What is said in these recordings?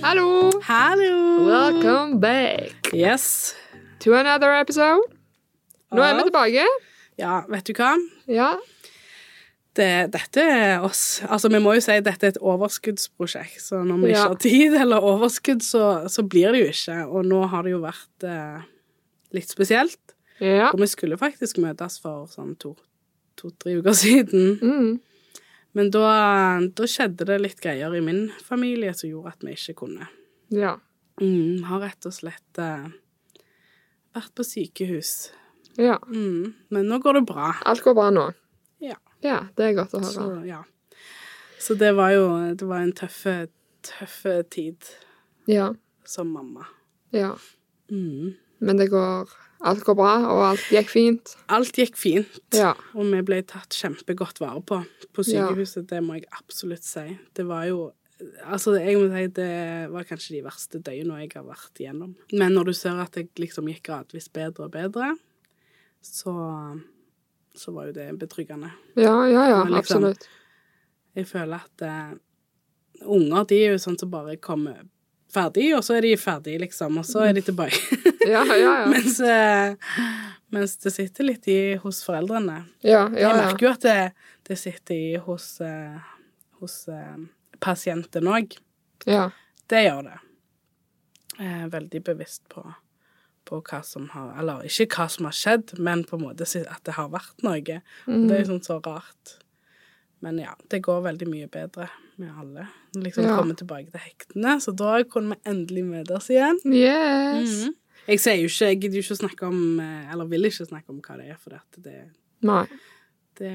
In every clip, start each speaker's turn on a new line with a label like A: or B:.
A: Hallo!
B: Hallo!
A: Welcome back
B: Yes.
A: to another episode. Nå er vi
B: Av-
A: tilbake.
B: Ja, vet du hva?
A: Ja,
B: Det, dette er oss. Altså, vi må jo si at dette er et overskuddsprosjekt, så når vi
A: Ja.
B: ikke har tid eller overskudd, så, så blir det jo ikke. Og nå har det jo vært eh, litt spesielt.
A: ja.
B: Og vi skulle faktisk møtes for sånn to-tre uker siden.
A: Mm.
B: Men da, da skjedde det litt greier i min familie som gjorde at vi ikke kunne.
A: ja.
B: Mm, har rett og slett eh, vært på sykehus.
A: ja.
B: Mm, men nå går det bra.
A: Alt går bra nå.
B: Ja.
A: Ja, det er godt å høre.
B: Så, ja. så det var jo det var en tøff, tøff tid
A: Ja,
B: som mamma.
A: ja.
B: Mm.
A: Men det går Alt går bra, og alt gikk fint.
B: Alt gikk fint,
A: Ja.
B: og vi ble tatt kjempegodt vare på på
A: Ja.
B: sykehuset. Det må jeg absolutt si. Det var jo Altså, jeg må si det var kanskje de verste døgnene jeg har vært igjennom. Men når du ser at jeg liksom gikk gradvis bedre og bedre, så, så var jo det betryggende.
A: Ja, ja, ja.
B: Men liksom-
A: Absolutt.
B: Jeg føler at eh, unger de er jo sånn som bare kommer ferdig, og så er de ferdig, liksom, og så er de tilbake.
A: Ja, ja, ja.
B: mens, eh, mens det sitter litt i hos foreldrene.
A: Ja, ja,
B: Jeg
A: ja.
B: merker jo at det, det sitter i hos, eh, hos eh, pasienten òg.
A: ja.
B: Det gjør det. Jeg er veldig bevisst på, på hva som har Eller ikke hva som har skjedd, men på en måte si- at det har vært noe.
A: Mm.
B: Og Det er jo sånn så rart. Men ja, det går veldig mye bedre med alle. Liksom
A: Ja.
B: komme tilbake til hektene, så da kunne vi endelig møtes igjen.
A: Yes.
B: Mhm. Jeg sier jo ikke, jeg gidder jo ikke å snakke om eh, Eller vil ikke snakke om hva det er, for at det,
A: Nei.
B: det,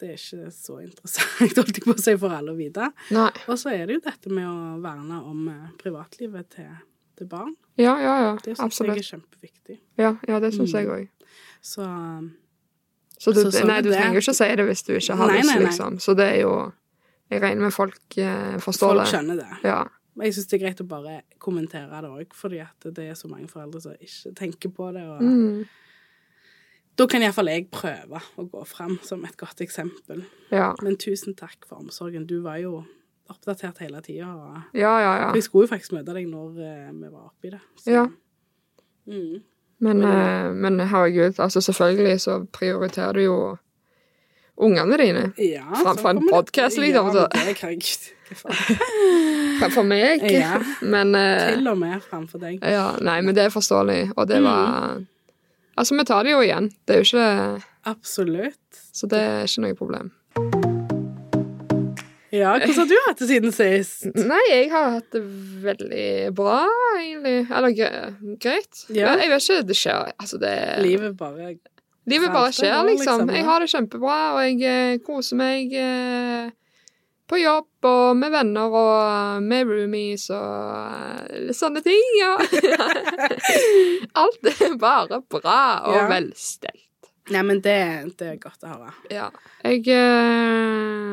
B: det er ikke så interessant, holdt jeg på å si, for alle å vite.
A: Nei.
B: Og så er det jo dette med å verne om eh, privatlivet til, til barn.
A: Ja, ja, ja.
B: Det syns jeg
A: Absolutt.
B: er kjempeviktig.
A: Ja, ja det syns
B: Mm.
A: jeg òg.
B: Så
A: Så du,
B: Så sånn
A: nei,
B: er
A: du
B: det.
A: trenger jo ikke å si det hvis du ikke har
B: Nei,
A: lyst,
B: nei, nei.
A: liksom. Så det er jo Jeg regner med folk eh, forstår
B: folk
A: det.
B: skjønner det.
A: Ja.
B: Og jeg syns det er greit å bare kommentere det òg, fordi at det er så mange foreldre som ikke tenker på det. Og
A: Mm.
B: Da kan iallfall jeg prøve å gå fram som et godt eksempel.
A: ja.
B: Men tusen takk for omsorgen. Du var jo oppdatert hele tida. og
A: Ja, ja, ja.
B: For Jeg skulle jo faktisk møte deg når eh, vi var oppi det. Så.
A: Ja.
B: Mm.
A: Men, eh, men herregud, altså selvfølgelig så prioriterer du jo ungene dine.
B: ja
A: Fra-
B: så
A: fra en
B: kommer det-
A: podcast, liksom,
B: Ja,
A: så-
B: men det, herregud. Hva faen?
A: For meg.
B: Ja.
A: Men eh,
B: Til Mm. og med framfor deg.
A: ja, Nei, men det er forståelig, og det var Altså, vi tar det jo igjen. Det er jo ikke
B: Absolutt.
A: Så det er ikke noe problem.
B: Ja, hvordan har du hatt det siden sist?
A: Nei, jeg har hatt det veldig bra, egentlig. Eller gre- greit.
B: Ja.
A: Jeg vet ikke, det skjer Altså, det
B: Livet bare
A: Livet bare
B: Fremstår
A: skjer,
B: bra,
A: liksom.
B: liksom, ja.
A: Jeg har det kjempebra, og jeg eh, koser meg eh, på jobb og med venner og eh, med roomies og eh, sånne ting. Ja. Alt er bare bra og
B: Ja.
A: velstelt.
B: Nei, men det, det er godt å høre.
A: Ja. Jeg eh,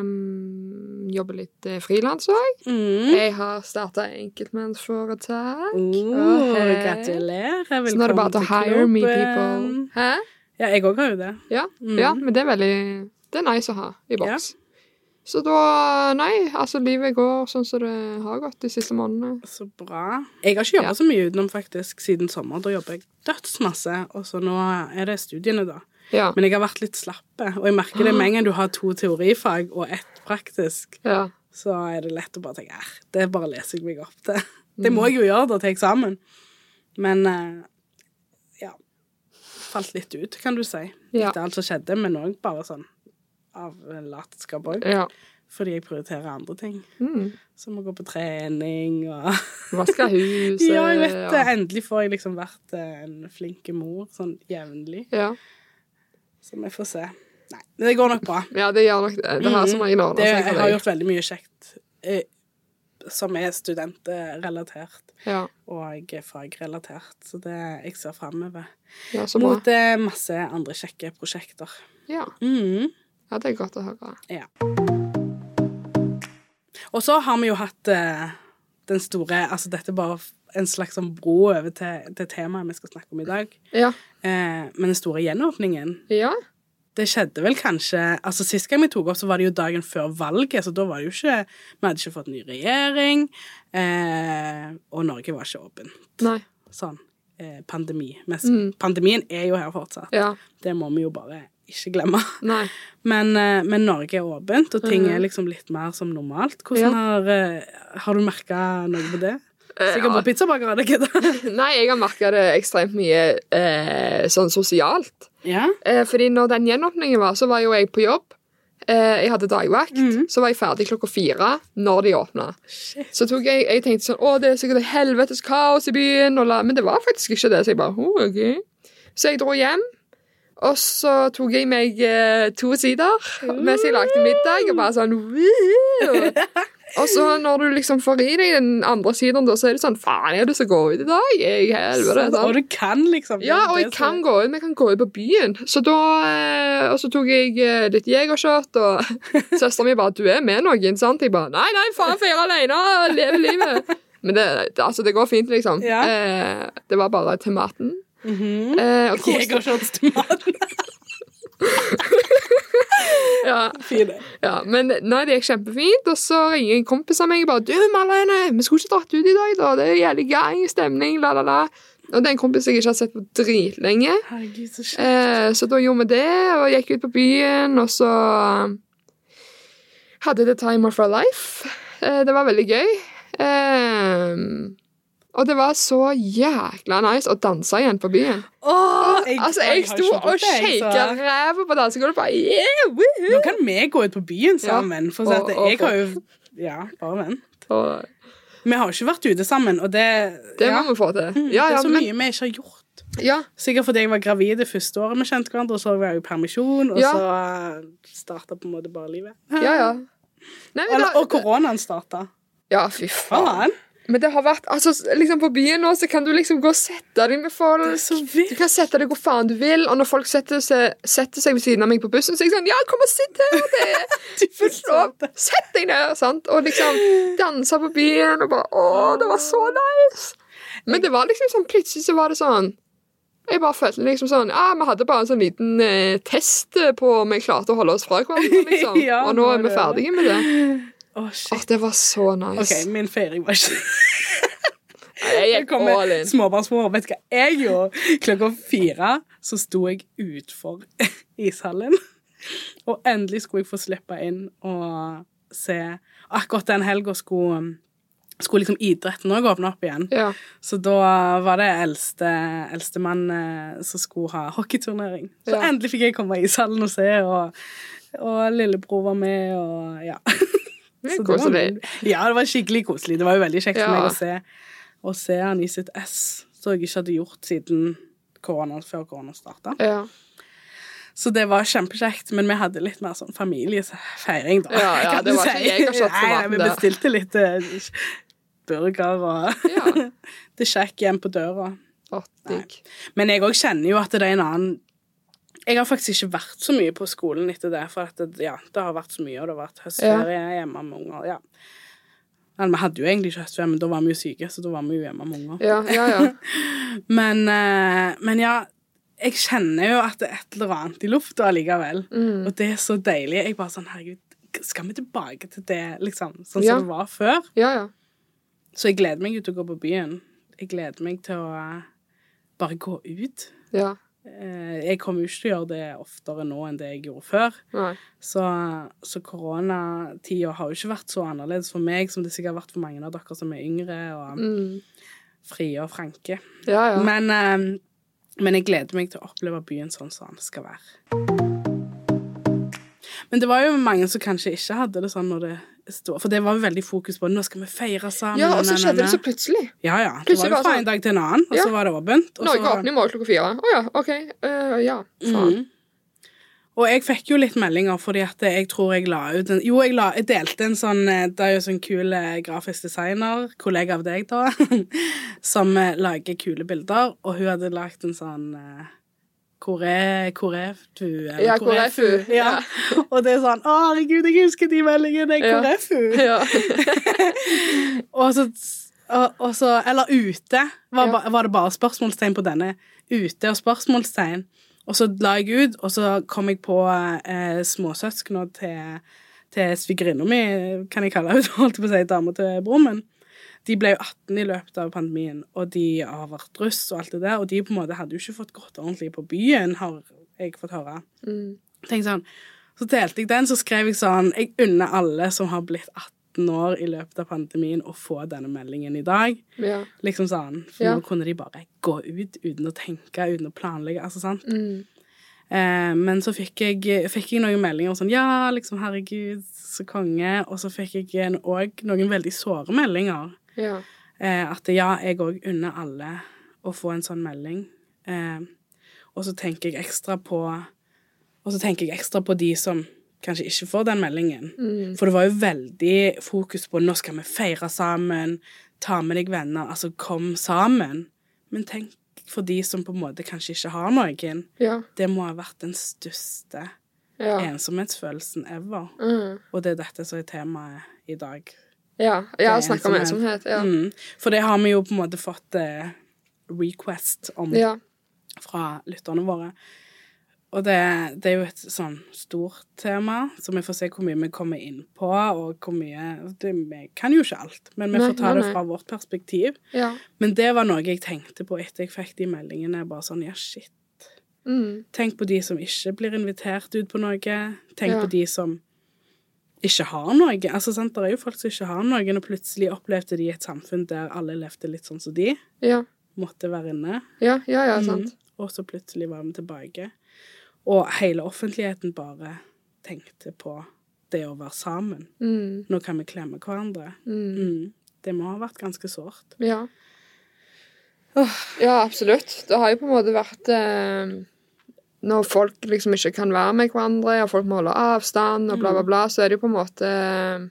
A: jobber litt eh, frilans òg.
B: Mm.
A: Jeg har starta enkeltmannsforetak.
B: Oh,
A: hei.
B: gratulerer.
A: Så nå er det
B: Velkommen
A: bare
B: til
A: til hire me people.
B: klubben.
A: Hæ?
B: Ja, jeg òg har jo det.
A: Ja,
B: Mm.
A: ja, men det er veldig Det er nice å ha i boks. Så da Nei, altså livet går sånn som det har gått de siste månedene.
B: Så bra. Jeg har ikke
A: Ja.
B: jobba så mye utenom faktisk siden sommer. Da jobber jeg dødsmasse, og så nå er det studiene, da.
A: Ja.
B: Men jeg har vært litt slappe, og jeg merker det med en gang du har to teorifag og ett praktisk,
A: ja.
B: så er det lett å bare tenke "Eh, det bare leser jeg meg opp til.
A: Mm.
B: Det må jeg jo gjøre da til eksamen. Men eh, ja Falt litt ut, kan du si.
A: Ja.
B: Etter alt som skjedde, men òg bare sånn av latskap òg.
A: ja.
B: Fordi jeg prioriterer andre ting.
A: Mm.
B: Som å gå på trening og
A: Vaske huset
B: Ja, jeg vet det.
A: ja.
B: Endelig får jeg liksom vært eh, en flink mor sånn jevnlig.
A: Ja.
B: Så vi får se. Nei, men det går nok bra.
A: ja, det gjør nok det. Det har så mange
B: Mm. Det,
A: ordner seg
B: jeg
A: for
B: har
A: deg.
B: gjort veldig mye kjekt eh, som er studentrelatert
A: Ja.
B: og fagrelatert, så det jeg ser framover.
A: ja, så bra.
B: Mot eh, masse andre kjekke prosjekter.
A: Ja.
B: Mhm.
A: ja, det er godt å høre.
B: Ja. Og så har vi jo hatt eh, den store Altså, dette er bare en slags sånn bro over til, til temaet vi skal snakke om i dag.
A: Ja.
B: Eh, men den store gjenåpningen
A: ja.
B: Det skjedde vel kanskje altså Sist gang vi tok opp, så var det jo dagen før valget, så da var det jo ikke Vi hadde ikke fått ny regjering, eh, og Norge var ikke åpen.
A: Nei.
B: Sånn eh, pandemi. Mens
A: Mm.
B: pandemien er jo her fortsatt.
A: Ja.
B: Det må vi jo bare ikke glemme.
A: Nei.
B: Men, eh, men Norge er åpent, og ting
A: Mhm.
B: er liksom litt mer som normalt. Hvordan har, eh, har du merka noe på det?
A: Eh,
B: Sikkert på pizzabakeren, ikke sant?
A: Nei, jeg har merka det ekstremt mye eh, sånn sosialt.
B: Ja.
A: Eh, fordi når den gjenåpningen var, så var jo jeg på jobb. Eh, jeg hadde dagvakt.
B: Mhm.
A: Så var jeg ferdig klokka fire når de åpna.
B: Shit.
A: Så tok jeg, jeg tenkte sånn Å, det er sikkert et helvetes kaos i byen. Og la, men det var faktisk ikke det. Så jeg bare «Å, ok. Så jeg dro hjem. Og så tok jeg meg eh, to sider mens jeg lagde middag, og bare sånn «Woo!» Og så når du liksom får i deg den andre siden, da, så er det sånn Faen, jeg har lyst til å gå ut i dag. Jeg helvete.
B: Så- Og
A: Sånn.
B: du kan liksom
A: Ja, og jeg
B: det som-
A: kan gå ut, men jeg kan gå ut på byen. Så da eh, Og så tok jeg eh, litt jegershot, og søstera mi bare 'Du er med noen', sant? Jeg bare 'Nei, nei, faen, feire alene! Leve livet'. Men det, det, altså, det går fint, liksom.
B: Ja.
A: Eh, det var bare til maten.
B: Mhm.
A: Eh, og koste-
B: Jegershots til maten.
A: ja,
B: Fin.
A: ja, men nei, det gikk kjempefint. Og så ringer en kompis av meg og bare 'Du, Marlene, vi skulle ikke dratt ut i dag, da. Det er jævlig gøy stemning, la, la, la'. Og det er en kompis jeg ikke har sett på dritlenge.
B: Herregud, så shit.
A: Eh, så da gjorde vi det, og gikk ut på byen, og så eh, hadde the time of our life. Eh, det var veldig gøy. Eh, og det var så jækla nice å danse igjen på byen.
B: Åh,
A: altså, jeg
B: har
A: sto
B: ikke
A: og
B: gjort det, jeg, så-
A: shaka ræva på dansegulvet. bare, Yeah, woohoo!
B: Nå kan vi gå ut på byen sammen, for å si at
A: og- og
B: jeg har jo Ja, bare vent.
A: Og
B: Vi har jo ikke vært ute sammen, og det
A: det
B: ja.
A: må vi få til.
B: Mm,
A: Ja,
B: Det
A: ja,
B: er så
A: men,
B: mye vi ikke har gjort.
A: ja,
B: Sikkert fordi jeg var gravid det første året vi kjente hverandre, og så var jeg i permisjon, og
A: Ja.
B: så starta på en måte bare livet.
A: ja, ja. Nei, men
B: Eller,
A: da-
B: og koronaen starta.
A: ja, fy faen.
B: Faen!
A: Men det har vært altså, liksom På byen nå så kan du liksom gå og sette deg med folk.
B: Det er så
A: Du
B: vilt.
A: kan sette deg hvor faen du vil, og når folk setter seg, setter seg ved siden av meg på bussen, så er jeg sånn Ja, kom og sitt her! Det er fullt lov! Sett deg ned! Sant? Og liksom danse på byen, og bare Å, det var så nice! Men det var liksom sånn Plutselig så var det sånn Jeg bare følte liksom sånn Ja, vi hadde bare en sånn liten eh, test på om vi klarte å holde oss fra hverandre, liksom.
B: Ja,
A: Og nå
B: nå er
A: er vi
B: det-
A: ferdige med det.
B: Å,
A: Å,
B: shit.
A: det var så nice.
B: OK, min feiring var ikke
A: Jeg
B: Jeg
A: gikk
B: kom
A: all
B: med
A: in.
B: småbarnsmor. Vet du hva jeg gjorde? Klokka fire så sto jeg utfor ishallen. Og endelig skulle jeg få slippe inn og se Akkurat den helga skulle, skulle liksom idretten òg åpne opp igjen.
A: Ja.
B: Så da var det eldste eldstemann eh, som skulle ha hockeyturnering. Så
A: Ja.
B: endelig fikk jeg komme i ishallen og se, og, og lillebror var med, og ja.
A: Det er
B: Så det var-
A: koselig.
B: Ja, det var skikkelig koselig. Det var jo veldig kjekt for
A: Ja.
B: meg å se, å se han i sitt ess, som jeg ikke hadde gjort siden korona, før korona starta.
A: Ja.
B: Så det var kjempekjekt, men vi hadde litt mer sånn familiefeiring, da.
A: Ja, ja,
B: kan
A: det
B: du
A: var ikke jegershot som
B: Nei,
A: var
B: nei, vi
A: det.
B: bestilte litt eh, burger og
A: ja.
B: det er kjekk hjem på døra.
A: Å, digg.
B: Men jeg òg kjenner jo at det er en annen Jeg har faktisk ikke vært så mye på skolen etter det, for at det, ja, det har vært så mye, og det har vært høstferie hjemme med unger. Ja. Men vi hadde jo egentlig ikke høstferie, men da var vi jo syke, så da var vi jo hjemme med unger.
A: Ja, ja, ja.
B: Men, eh, men ja, jeg kjenner jo at det er et eller annet i lufta allikevel.
A: Mm.
B: Og det er så deilig. Jeg bare sånn, herregud, skal vi tilbake til det, liksom? Sånn
A: Ja.
B: som det var før?
A: Ja, ja.
B: Så jeg gleder meg jo til å gå på byen. Jeg gleder meg til å eh, bare gå ut.
A: Ja.
B: Eh, Jeg kommer jo ikke til å gjøre det oftere nå enn det jeg gjorde før.
A: Nei.
B: Så, så koronatida har jo ikke vært så annerledes for meg som det sikkert har vært for mange av dere som er yngre og
A: Mm.
B: frie og franke.
A: Ja, ja.
B: Men, eh, men jeg gleder meg til å oppleve byen sånn som den skal være. Men det var jo mange som kanskje ikke hadde det sånn når det stod For det var jo veldig fokus på nå skal vi feire sammen.
A: ja, og så
B: na, na,
A: skjedde det
B: na.
A: så plutselig.
B: Ja, ja. Det
A: Plutselig
B: var jo
A: var
B: fra
A: sånn-
B: en dag til en annen, og
A: Ja.
B: så var det åpent. og så-
A: Norge åpner i morgen klokka fire. Å ja, OK. Eh, ja, faen.
B: Mm. Og jeg fikk jo litt meldinger, fordi at jeg tror jeg la ut en Jo, jeg, la, jeg delte en sånn eh, Det er jo sånn kul eh, grafisk designer, kollega av deg, da, som eh, lager kule bilder, og hun hadde lagd en sånn eh, hvor er, hvor er du? Eller,
A: Ja, hvor er
B: fu?
A: fu?
B: Ja. Og det er sånn Å, herregud, jeg husker de meldingene.
A: Ja.
B: Hvor er fu?
A: Ja.
B: Og så, og, og så Eller ute. Var,
A: Ja.
B: ba, var det bare spørsmålstegn på denne? Ute og spørsmålstegn. Og så la jeg ut, og så kom jeg på eh, småsøskena til, til svigerinna mi, kan jeg kalle henne, holdt jeg på å si, dama til broren min. De ble jo 18 i løpet av pandemien, og de har vært russ og alt det der, og de på en måte hadde jo ikke fått gått ordentlig på byen, har jeg fått høre.
A: Mm.
B: Tenk sånn, Så delte jeg den, så skrev jeg sånn Jeg unner alle som har blitt 18 år i løpet av pandemien, å få denne meldingen i dag.
A: Ja.
B: Liksom sånn, For
A: Ja.
B: nå kunne de bare gå ut uten å tenke, uten å planlegge. altså sant?
A: Mm.
B: Eh, men så fikk jeg, fikk jeg noen meldinger sånn Ja, liksom, herregud, så konge. Og så fikk jeg en- òg noen veldig såre meldinger.
A: ja.
B: Eh, at ja, jeg òg unner alle å få en sånn melding. Eh, og så tenker jeg ekstra på Og så tenker jeg ekstra på de som kanskje ikke får den meldingen.
A: mm.
B: For det var jo veldig fokus på nå skal vi feire sammen, ta med deg venner, altså kom sammen. Men tenk for de som på en måte kanskje ikke har noen
A: Ja.
B: det må ha vært den største
A: Ja.
B: ensomhetsfølelsen ever.
A: Mm.
B: Og det er dette som er temaet i dag.
A: ja. Jeg har
B: Det er
A: snakka om
B: ensomhet.
A: ensomhet. Ja.
B: Mm. For det har vi jo på en måte fått eh, request om
A: ja.
B: fra lytterne våre. Og det, det er jo et sånn stort tema, så vi får se hvor mye vi kommer inn på, og hvor mye det, Vi kan jo ikke alt, men vi
A: Nei,
B: får ta
A: nei,
B: det
A: nei.
B: fra vårt perspektiv.
A: ja.
B: Men det var noe jeg tenkte på etter jeg fikk de meldingene. Bare sånn, ja, shit.
A: Mm.
B: Tenk på de som ikke blir invitert ut på noe. Tenk
A: Ja.
B: på de som ikke har noe. Altså, sant? Det er jo folk som ikke har noen, og plutselig opplevde de et samfunn der alle levde litt sånn som de.
A: ja.
B: Måtte være inne.
A: Ja, ja, ja, sant.
B: Mhm. Og så plutselig var vi tilbake. Og hele offentligheten bare tenkte på det å være sammen.
A: Mm.
B: Nå kan vi klemme hverandre.
A: Mm.
B: Mm. Det må ha vært ganske sårt.
A: Ja. ja, absolutt. Det har jo på en måte vært eh, Når folk liksom ikke kan være med hverandre, og folk må holde avstand, og bla, bla, bla, så er det jo på en måte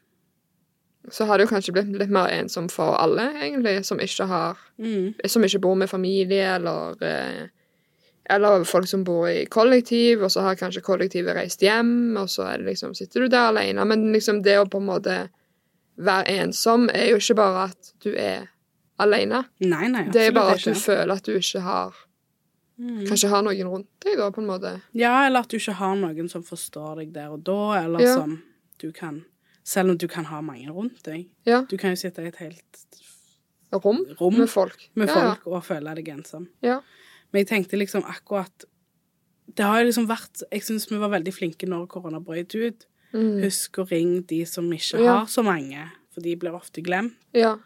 A: Så har det jo kanskje blitt litt mer ensomt for alle, egentlig, som ikke har
B: Mm.
A: som ikke bor med familie, eller, eh, eller folk som bor i kollektiv, og så har kanskje kollektivet reist hjem, og så er det liksom, sitter du der alene. Men liksom det å på en måte være ensom er jo ikke bare at du er alene.
B: Nei, nei,
A: Det er bare at
B: absolutt
A: du
B: ikke.
A: føler at du ikke har
B: Mm.
A: Kanskje har noen rundt deg, da, på en måte.
B: Ja, eller at du ikke har noen som forstår deg der og da, eller
A: Ja.
B: som du kan Selv om du kan ha mange rundt deg.
A: Ja.
B: Du kan jo sitte i et helt
A: Rom
B: rom
A: med folk.
B: med
A: Ja, ja.
B: folk og føle deg ensom.
A: Ja.
B: Men jeg tenkte liksom akkurat Det har jo liksom vært Jeg syns vi var veldig flinke når korona brøt ut.
A: Mm.
B: Husk å ringe de som ikke
A: Ja.
B: har så mange, for de blir ofte glemt.
A: Ja.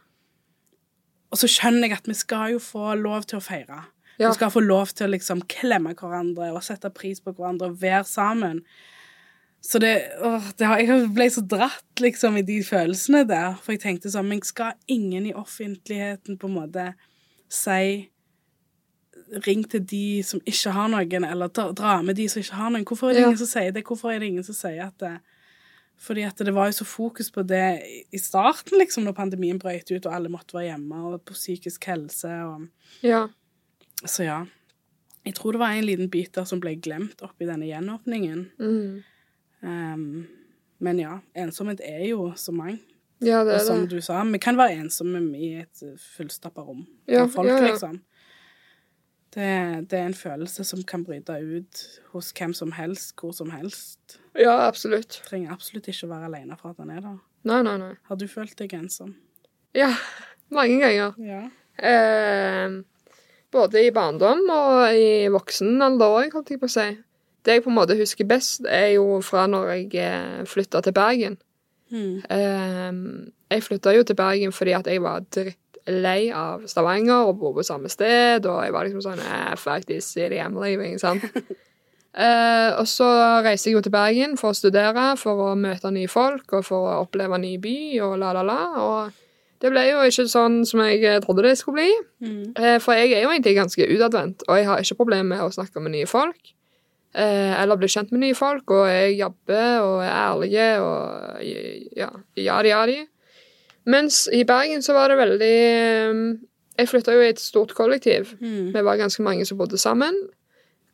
B: Og så skjønner jeg at vi skal jo få lov til å feire.
A: Ja.
B: Vi skal få lov til å liksom klemme hverandre og sette pris på hverandre og være sammen. Så det, åh, det har, Jeg ble så dratt liksom i de følelsene der. For jeg tenkte sånn Men skal ingen i offentligheten på en måte si Ring til de som ikke har noen, eller dra, dra med de som ikke har noen. Hvorfor er det
A: Ja.
B: ingen som sier det? Hvorfor er det ingen som sier at det, Fordi at det var jo så fokus på det i- i starten, liksom, når pandemien brøt ut, og alle måtte være hjemme, og på psykisk helse og
A: Ja.
B: så ja. Jeg tror det var en liten bit der som ble glemt oppi denne gjenåpningen.
A: Mm.
B: Ehm, men ja, ensomhet er jo så mangt.
A: ja, det
B: Og
A: er
B: som
A: det.
B: du sa, vi kan være ensomme i et eh, fullstappa rom
A: Ja,
B: av folk,
A: ja, ja.
B: liksom. Det, det er en følelse som kan bryte ut hos hvem som helst, hvor som helst.
A: Ja, absolutt.
B: Trenger absolutt ikke å være alene for at den er der.
A: Nei, nei, nei.
B: Har du følt deg ensom?
A: Ja, mange ganger.
B: Ja.
A: Eh, både i barndom og i voksen alder òg, holdt jeg på å si. Det jeg på en måte husker best, er jo fra når jeg flytta til Bergen.
B: Mm.
A: Eh, jeg flytta jo til Bergen fordi at jeg var drittlei av Stavanger og bo på samme sted, og jeg var liksom sånn eh, Fuck this city, I'm leaving, sant. Eh, og så reiste jeg jo til Bergen for å studere, for å møte nye folk og for å oppleve ny by og la-la-la. Og det ble jo ikke sånn som jeg trodde det skulle bli.
B: Mm.
A: Eh, For jeg er jo egentlig ganske utadvendt, og jeg har ikke problemer med å snakke med nye folk. eh, Eller bli kjent med nye folk, og jeg jobber og er ærlige og ja, ja, ja, ja. Mens i Bergen så var det veldig eh, Jeg flytta jo i et stort kollektiv.
B: Mm.
A: Vi var ganske mange som bodde sammen.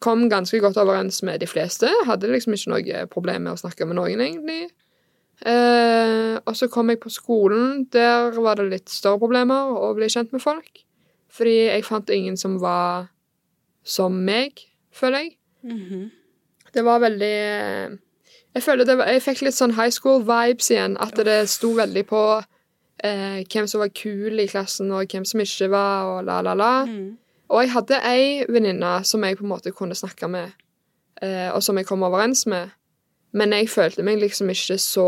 A: Kom ganske godt overens med de fleste. Hadde liksom ikke noe problem med å snakke med noen, egentlig. Eh, og så kom jeg på skolen. Der var det litt større problemer å bli kjent med folk. Fordi jeg fant ingen som var som meg, føler jeg.
B: mhm,
A: Det var veldig eh, Jeg føler det var, jeg fikk litt sånn high school-vibes igjen. At det sto veldig på eh, hvem som var kul i klassen, og hvem som ikke var, og la, la, la.
B: Mhm.
A: Og jeg hadde ei venninne som jeg på en måte kunne snakke med, eh, og som jeg kom overens med. Men jeg følte meg liksom ikke så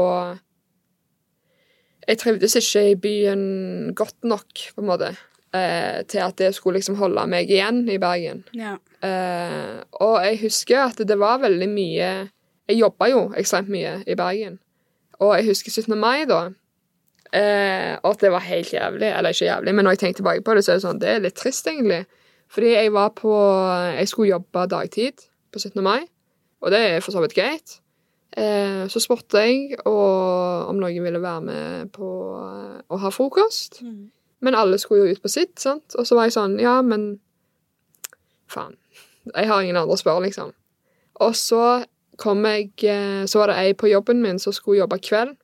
A: Jeg trivdes ikke i byen godt nok, på en måte, eh, til at det skulle liksom holde meg igjen i Bergen.
B: Ja.
A: Eh, og jeg husker at det var veldig mye Jeg jobba jo ekstremt mye i Bergen. Og jeg husker 17. mai, da. eh, og at det var helt jævlig. Eller ikke jævlig, men når jeg tenker tilbake på det, så er det sånn, det er litt trist, egentlig. Fordi jeg var på Jeg skulle jobbe dagtid på 17. mai, og det er for så vidt greit. Eh, så spurte jeg og, om noen ville være med på eh, å ha frokost.
B: Mhm.
A: Men alle skulle jo ut på sitt, sant? Og så var jeg sånn, ja, men faen. Jeg har ingen andre å spørre, liksom. Og så kom jeg, eh, så var det ei på jobben min som skulle jobbe kveld.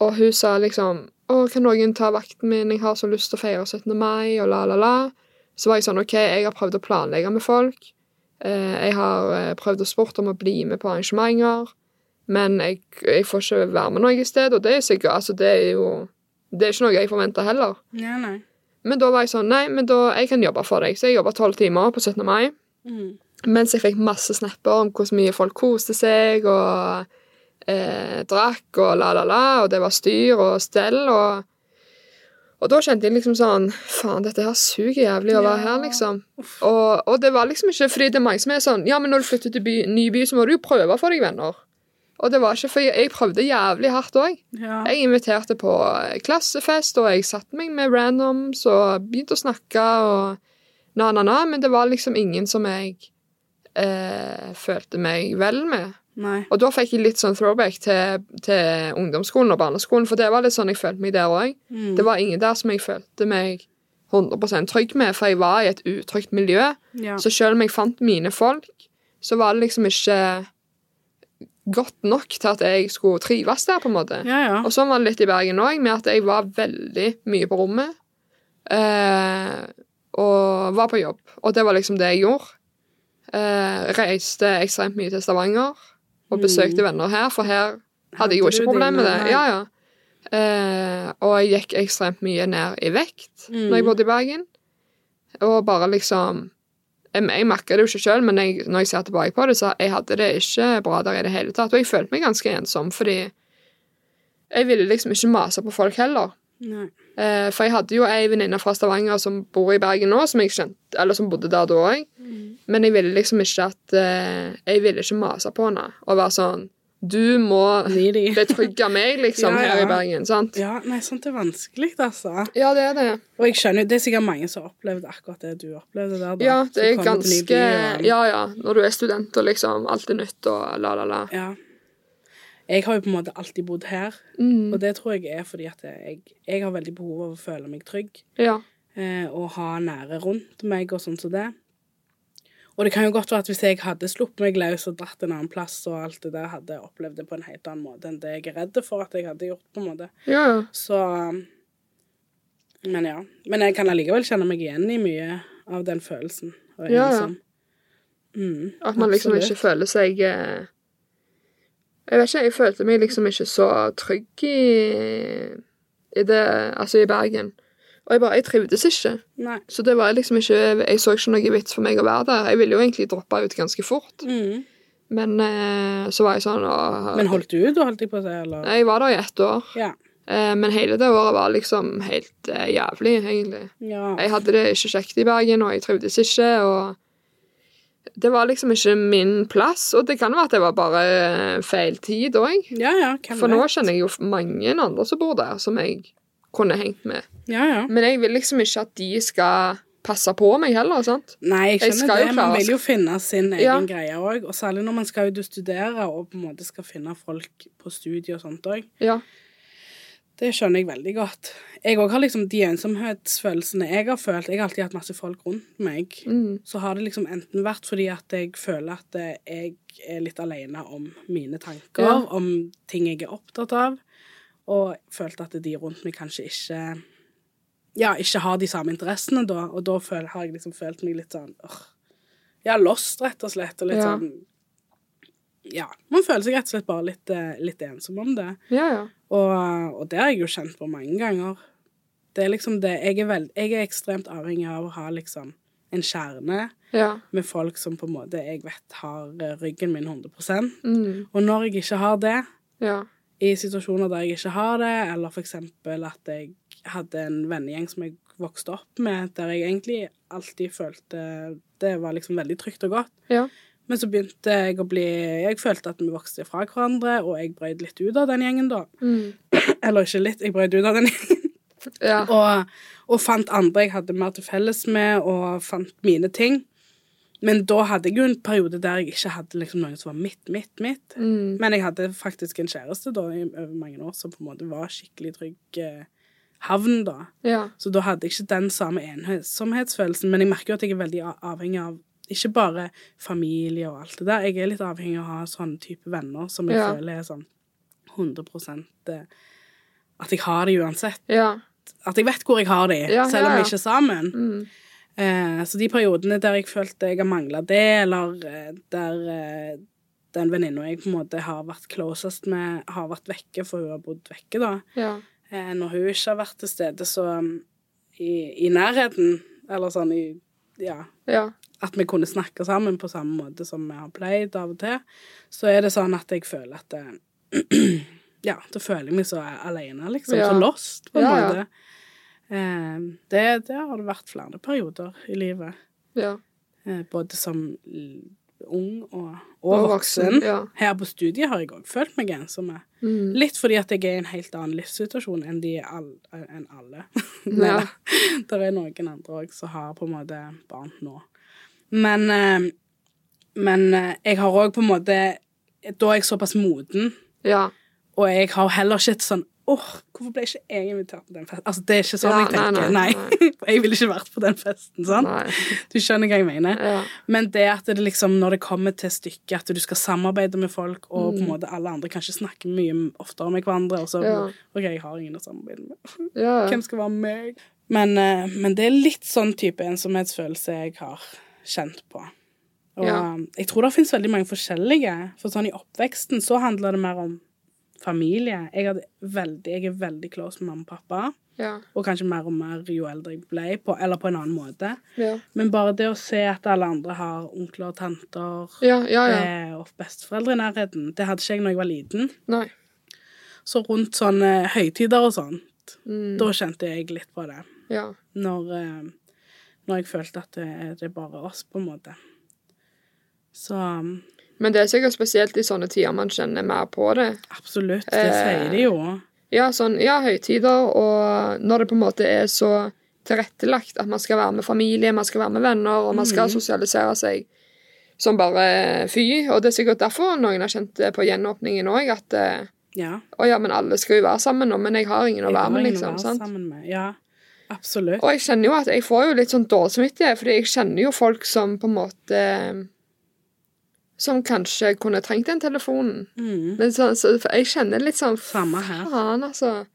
A: Og hun sa liksom, å, kan noen ta vakten min? Jeg har så lyst til å feire 17. mai, og la, la, la. Så var jeg sånn, ok, jeg har prøvd å planlegge med folk. Eh, Jeg har eh, prøvd å spurt om å bli med på arrangementer. Men jeg, jeg får ikke være med noe sted, og det er sikkert, altså det er jo, det er ikke noe jeg forventer heller.
B: Ja, nei.
A: Men da var jeg sånn, nei, men da, jeg kan jobbe for deg. Så jeg jobba tolv timer på 17. mai.
B: Mhm.
A: Mens jeg fikk masse snapper om hvor mye folk koste seg og eh, drakk og la, la, la, og det var styr og stell. Og, og da kjente jeg liksom sånn Faen, dette her suger jævlig å være
B: Ja.
A: her, liksom. Og, og det var liksom ikke fordi det er mange som er sånn Ja, men når du flytter til by, ny by, så må du jo prøve for deg venner. Og det var ikke, for jeg, jeg prøvde jævlig hardt òg.
B: Ja.
A: Jeg inviterte på klassefest, og jeg satte meg med randoms og begynte å snakke og na-na-na, men det var liksom ingen som jeg eh, følte meg vel med.
B: Nei.
A: Og da fikk jeg litt sånn throwback til, til ungdomsskolen og barneskolen, for det var litt sånn jeg følte meg der òg.
B: Mhm.
A: Det var ingen der som jeg følte meg 100 trygg med, for jeg var i et utrygt miljø.
B: Ja.
A: Så selv om jeg fant mine folk, så var det liksom ikke godt nok til at jeg skulle trives der, på en måte.
B: Ja, ja.
A: Og sånn var det litt i Bergen òg, med at jeg var veldig mye på rommet. Eh, og var på jobb. Og det var liksom det jeg gjorde. Eh, reiste ekstremt mye til Stavanger og besøkte venner her, for her hadde jeg jo
B: Mm. Hadde
A: ikke
B: du
A: problemer med det.
B: dine, nei.
A: Ja, ja. Eh, og jeg gikk ekstremt mye ned i vekt
B: Mm.
A: når jeg bodde i Bergen. Og bare liksom Jeg, jeg merka det jo ikke sjøl, men jeg, når jeg ser tilbake på det, så jeg hadde det ikke bra der i det hele tatt. Og jeg følte meg ganske ensom, fordi jeg ville liksom ikke mase på folk heller.
B: Nei.
A: Eh, for jeg hadde jo ei venninne fra Stavanger som bor i Bergen nå, som jeg kjente, eller som bodde der da òg.
B: Mhm.
A: Men jeg ville liksom ikke at eh, Jeg ville ikke mase på henne og være sånn Du må
B: Needy.
A: betrygge meg, liksom,
B: Ja, ja.
A: her i Bergen. Sant?
B: Ja, nei, sånt er vanskelig, altså.
A: Ja, det er det.
B: Og jeg skjønner, jo, det er sikkert mange som har opplevd akkurat det du opplevde der. Da.
A: Ja,
B: Som
A: det er
B: kommer til ny by
A: ganske
B: og-
A: Ja, ja. Når du er student og liksom alt er nytt og la, la, la.
B: ja. Jeg har jo på en måte alltid bodd her,
A: Mm.
B: og det tror jeg er fordi at jeg, jeg har veldig behov av å føle meg trygg
A: Ja.
B: eh, og ha nære rundt meg og sånn som det. Og det kan jo godt være at hvis jeg hadde sluppet meg løs og dratt en annen plass og alt det der, hadde jeg opplevd det på en helt annen måte enn det jeg er redd for at jeg hadde gjort, på en måte.
A: Ja, ja.
B: Så Men ja. Men jeg kan allikevel kjenne meg igjen i mye av den følelsen. Og
A: Ja, ja.
B: ensom. Mm,
A: At man liksom
B: absolutt.
A: ikke føler seg eh, Jeg vet ikke, jeg følte meg liksom ikke så trygg i, i det Altså i Bergen. Og jeg bare, jeg trivdes ikke.
B: Nei.
A: Så det var liksom ikke Jeg så ikke noe vits for meg å være der. Jeg ville jo egentlig droppe ut ganske fort,
B: Mm.
A: men eh, så var jeg sånn og,
B: Men holdt du ut, da, holdt jeg på å si, eller?
A: Jeg var der i ett år,
B: Ja.
A: eh, men hele det året var liksom helt eh, jævlig, egentlig.
B: ja.
A: Jeg hadde det ikke kjekt i Bergen, og jeg trivdes ikke, og det var liksom ikke min plass. Og det kan være at det var bare eh, feil tid òg.
B: Ja, ja, hvem
A: For nå
B: vet?
A: kjenner jeg jo mange andre som bor der, som jeg kunne hengt med.
B: Ja, ja.
A: Men jeg vil liksom ikke at de skal passe på meg heller, sant?
B: Nei,
A: Jeg
B: jeg
A: skal
B: skjønner
A: jo
B: det.
A: klare
B: Man
A: å-
B: vil jo finne sin egen
A: Ja.
B: greie òg. Og særlig når man skal ut og studere og på en måte skal finne folk på studiet og sånt òg.
A: Ja.
B: Det skjønner jeg veldig godt. Jeg òg har liksom de ensomhetsfølelsene jeg har følt. Jeg har alltid hatt masse folk rundt meg.
A: Mm.
B: Så har det liksom enten vært fordi at jeg føler at eh, jeg er litt alene om mine tanker,
A: Ja.
B: om ting jeg er opptatt av, og følt at de rundt meg kanskje ikke ja, ikke har de samme interessene da, og da føl- har jeg liksom følt meg litt sånn åh, ja, lost, rett og slett. Og litt
A: Ja.
B: sånn Ja. Man føler seg rett og slett bare litt, eh, litt ensom om det.
A: Ja, ja.
B: Og, og det har jeg jo kjent på mange ganger. Det er liksom det Jeg er, veld, jeg er ekstremt avhengig av å ha liksom en kjerne
A: ja.
B: med folk som på en måte jeg vet har eh, ryggen min 100
A: Mm.
B: Og når jeg ikke har det,
A: ja.
B: i situasjoner der jeg ikke har det, eller for eksempel at jeg hadde en vennegjeng som jeg vokste opp med, der jeg egentlig alltid følte det var liksom veldig trygt og godt.
A: Ja.
B: Men så begynte jeg å bli Jeg følte at vi vokste fra hverandre, og jeg brøyd litt ut av den gjengen, da.
A: Mm.
B: Eller ikke litt, jeg brøyd ut av den gjengen.
A: ja.
B: Og, og fant andre jeg hadde mer til felles med, og fant mine ting. Men da hadde jeg jo en periode der jeg ikke hadde liksom noen som var mitt, mitt, mitt.
A: Mm.
B: Men jeg hadde faktisk en kjæreste da i over mange år som på en måte var skikkelig trygg eh, havn, da.
A: ja.
B: Så da hadde jeg ikke den samme ensomhetsfølelsen. Men jeg merker jo at jeg er veldig a- avhengig av ikke bare familie og alt det der. Jeg er litt avhengig av å ha sånne type venner som jeg
A: Ja.
B: føler er sånn 100 eh, At jeg har det uansett.
A: ja.
B: At jeg vet hvor jeg har de,
A: Ja,
B: selv om
A: ja, ja.
B: vi ikke er sammen.
A: Mm.
B: Eh, så de periodene der jeg følte jeg har mangla det, eller eh, der eh, den venninna jeg på en måte har vært closest med, har vært vekke, for hun har bodd vekke, da.
A: ja.
B: Eh, når hun ikke har vært til stede, så um, i, i nærheten, eller sånn i Ja.
A: Ja.
B: At vi kunne snakke sammen på samme måte som vi har pleid av og til, så er det sånn at jeg føler at eh, Ja, da føler jeg meg så alene, liksom.
A: Ja.
B: Så lost, på en
A: Ja, ja.
B: måte. Eh, det, det har det vært flere perioder i livet.
A: ja.
B: Eh, både som l- ung og, og,
A: Og
B: voksen.
A: voksen, ja.
B: Her på studiet har jeg òg følt meg ensom. jeg.
A: Mm.
B: Litt fordi at jeg er i en helt annen livssituasjon enn de all, enn alle.
A: Ja.
B: Det er noen andre òg som har på en måte barn nå. Men, eh, men eh, jeg har òg på en måte Da er jeg såpass moden,
A: Ja.
B: og jeg har heller ikke et sånn Åh, hvorfor ble ikke jeg invitert på den festen? Altså, Det er ikke sånn
A: Ja,
B: jeg tenker.
A: nei,
B: Nei,
A: nei,
B: jeg ville ikke vært på den festen. sånn.
A: Nei.
B: Du skjønner hva jeg mener.
A: Ja.
B: Men det at det liksom, når det kommer til stykket, at du skal samarbeide med folk, og
A: Mm.
B: på en måte alle andre kan ikke snakke mye oftere med hverandre, og så
A: Ja.
B: OK, jeg har ingen å samarbeide med.
A: Ja. ja.
B: Hvem skal være meg? Men, eh, men det er litt sånn type ensomhetsfølelse jeg har kjent på. Og eh,
A: Ja.
B: jeg tror det finnes veldig mange forskjellige. For sånn i oppveksten så handler det mer om familie. Jeg, hadde veldig, jeg er veldig close med mamma og pappa,
A: Ja.
B: og kanskje mer og mer jo eldre jeg ble, på, eller på en annen måte.
A: Ja.
B: Men bare det å se at alle andre har onkler og tanter
A: Ja, ja, ja.
B: eh, og besteforeldre i nærheten, det hadde ikke jeg når jeg var liten.
A: Nei.
B: Så rundt sånne høytider og sånt,
A: Mm.
B: da kjente jeg litt på det.
A: Ja.
B: Når, eh, når jeg følte at det, det er bare oss, på en måte. Så um,
A: Men det er sikkert spesielt i sånne tider man kjenner mer på det.
B: absolutt, det
A: Eh.
B: sier de jo.
A: Ja, sånn, ja, høytider, og når det på en måte er så tilrettelagt at man skal være med familie, man skal være med venner, og man
B: Mm.
A: skal sosialisere seg som bare fy. Og det er sikkert derfor noen har kjent det på gjenåpningen òg, at eh,
B: Ja.
A: å ja, men alle skal jo være sammen nå, men jeg har ingen å
B: jeg har
A: være med,
B: ingen å
A: liksom.
B: være
A: sant?
B: sammen med. Ja, absolutt.
A: Og jeg kjenner jo at jeg får jo litt sånn dårlig samvittighet, fordi jeg kjenner jo folk som på en måte Som kanskje kunne trengt den telefonen.
B: Mm.
A: Men så, så for jeg kjenner litt sånn
B: Samme her.
A: Faen, altså.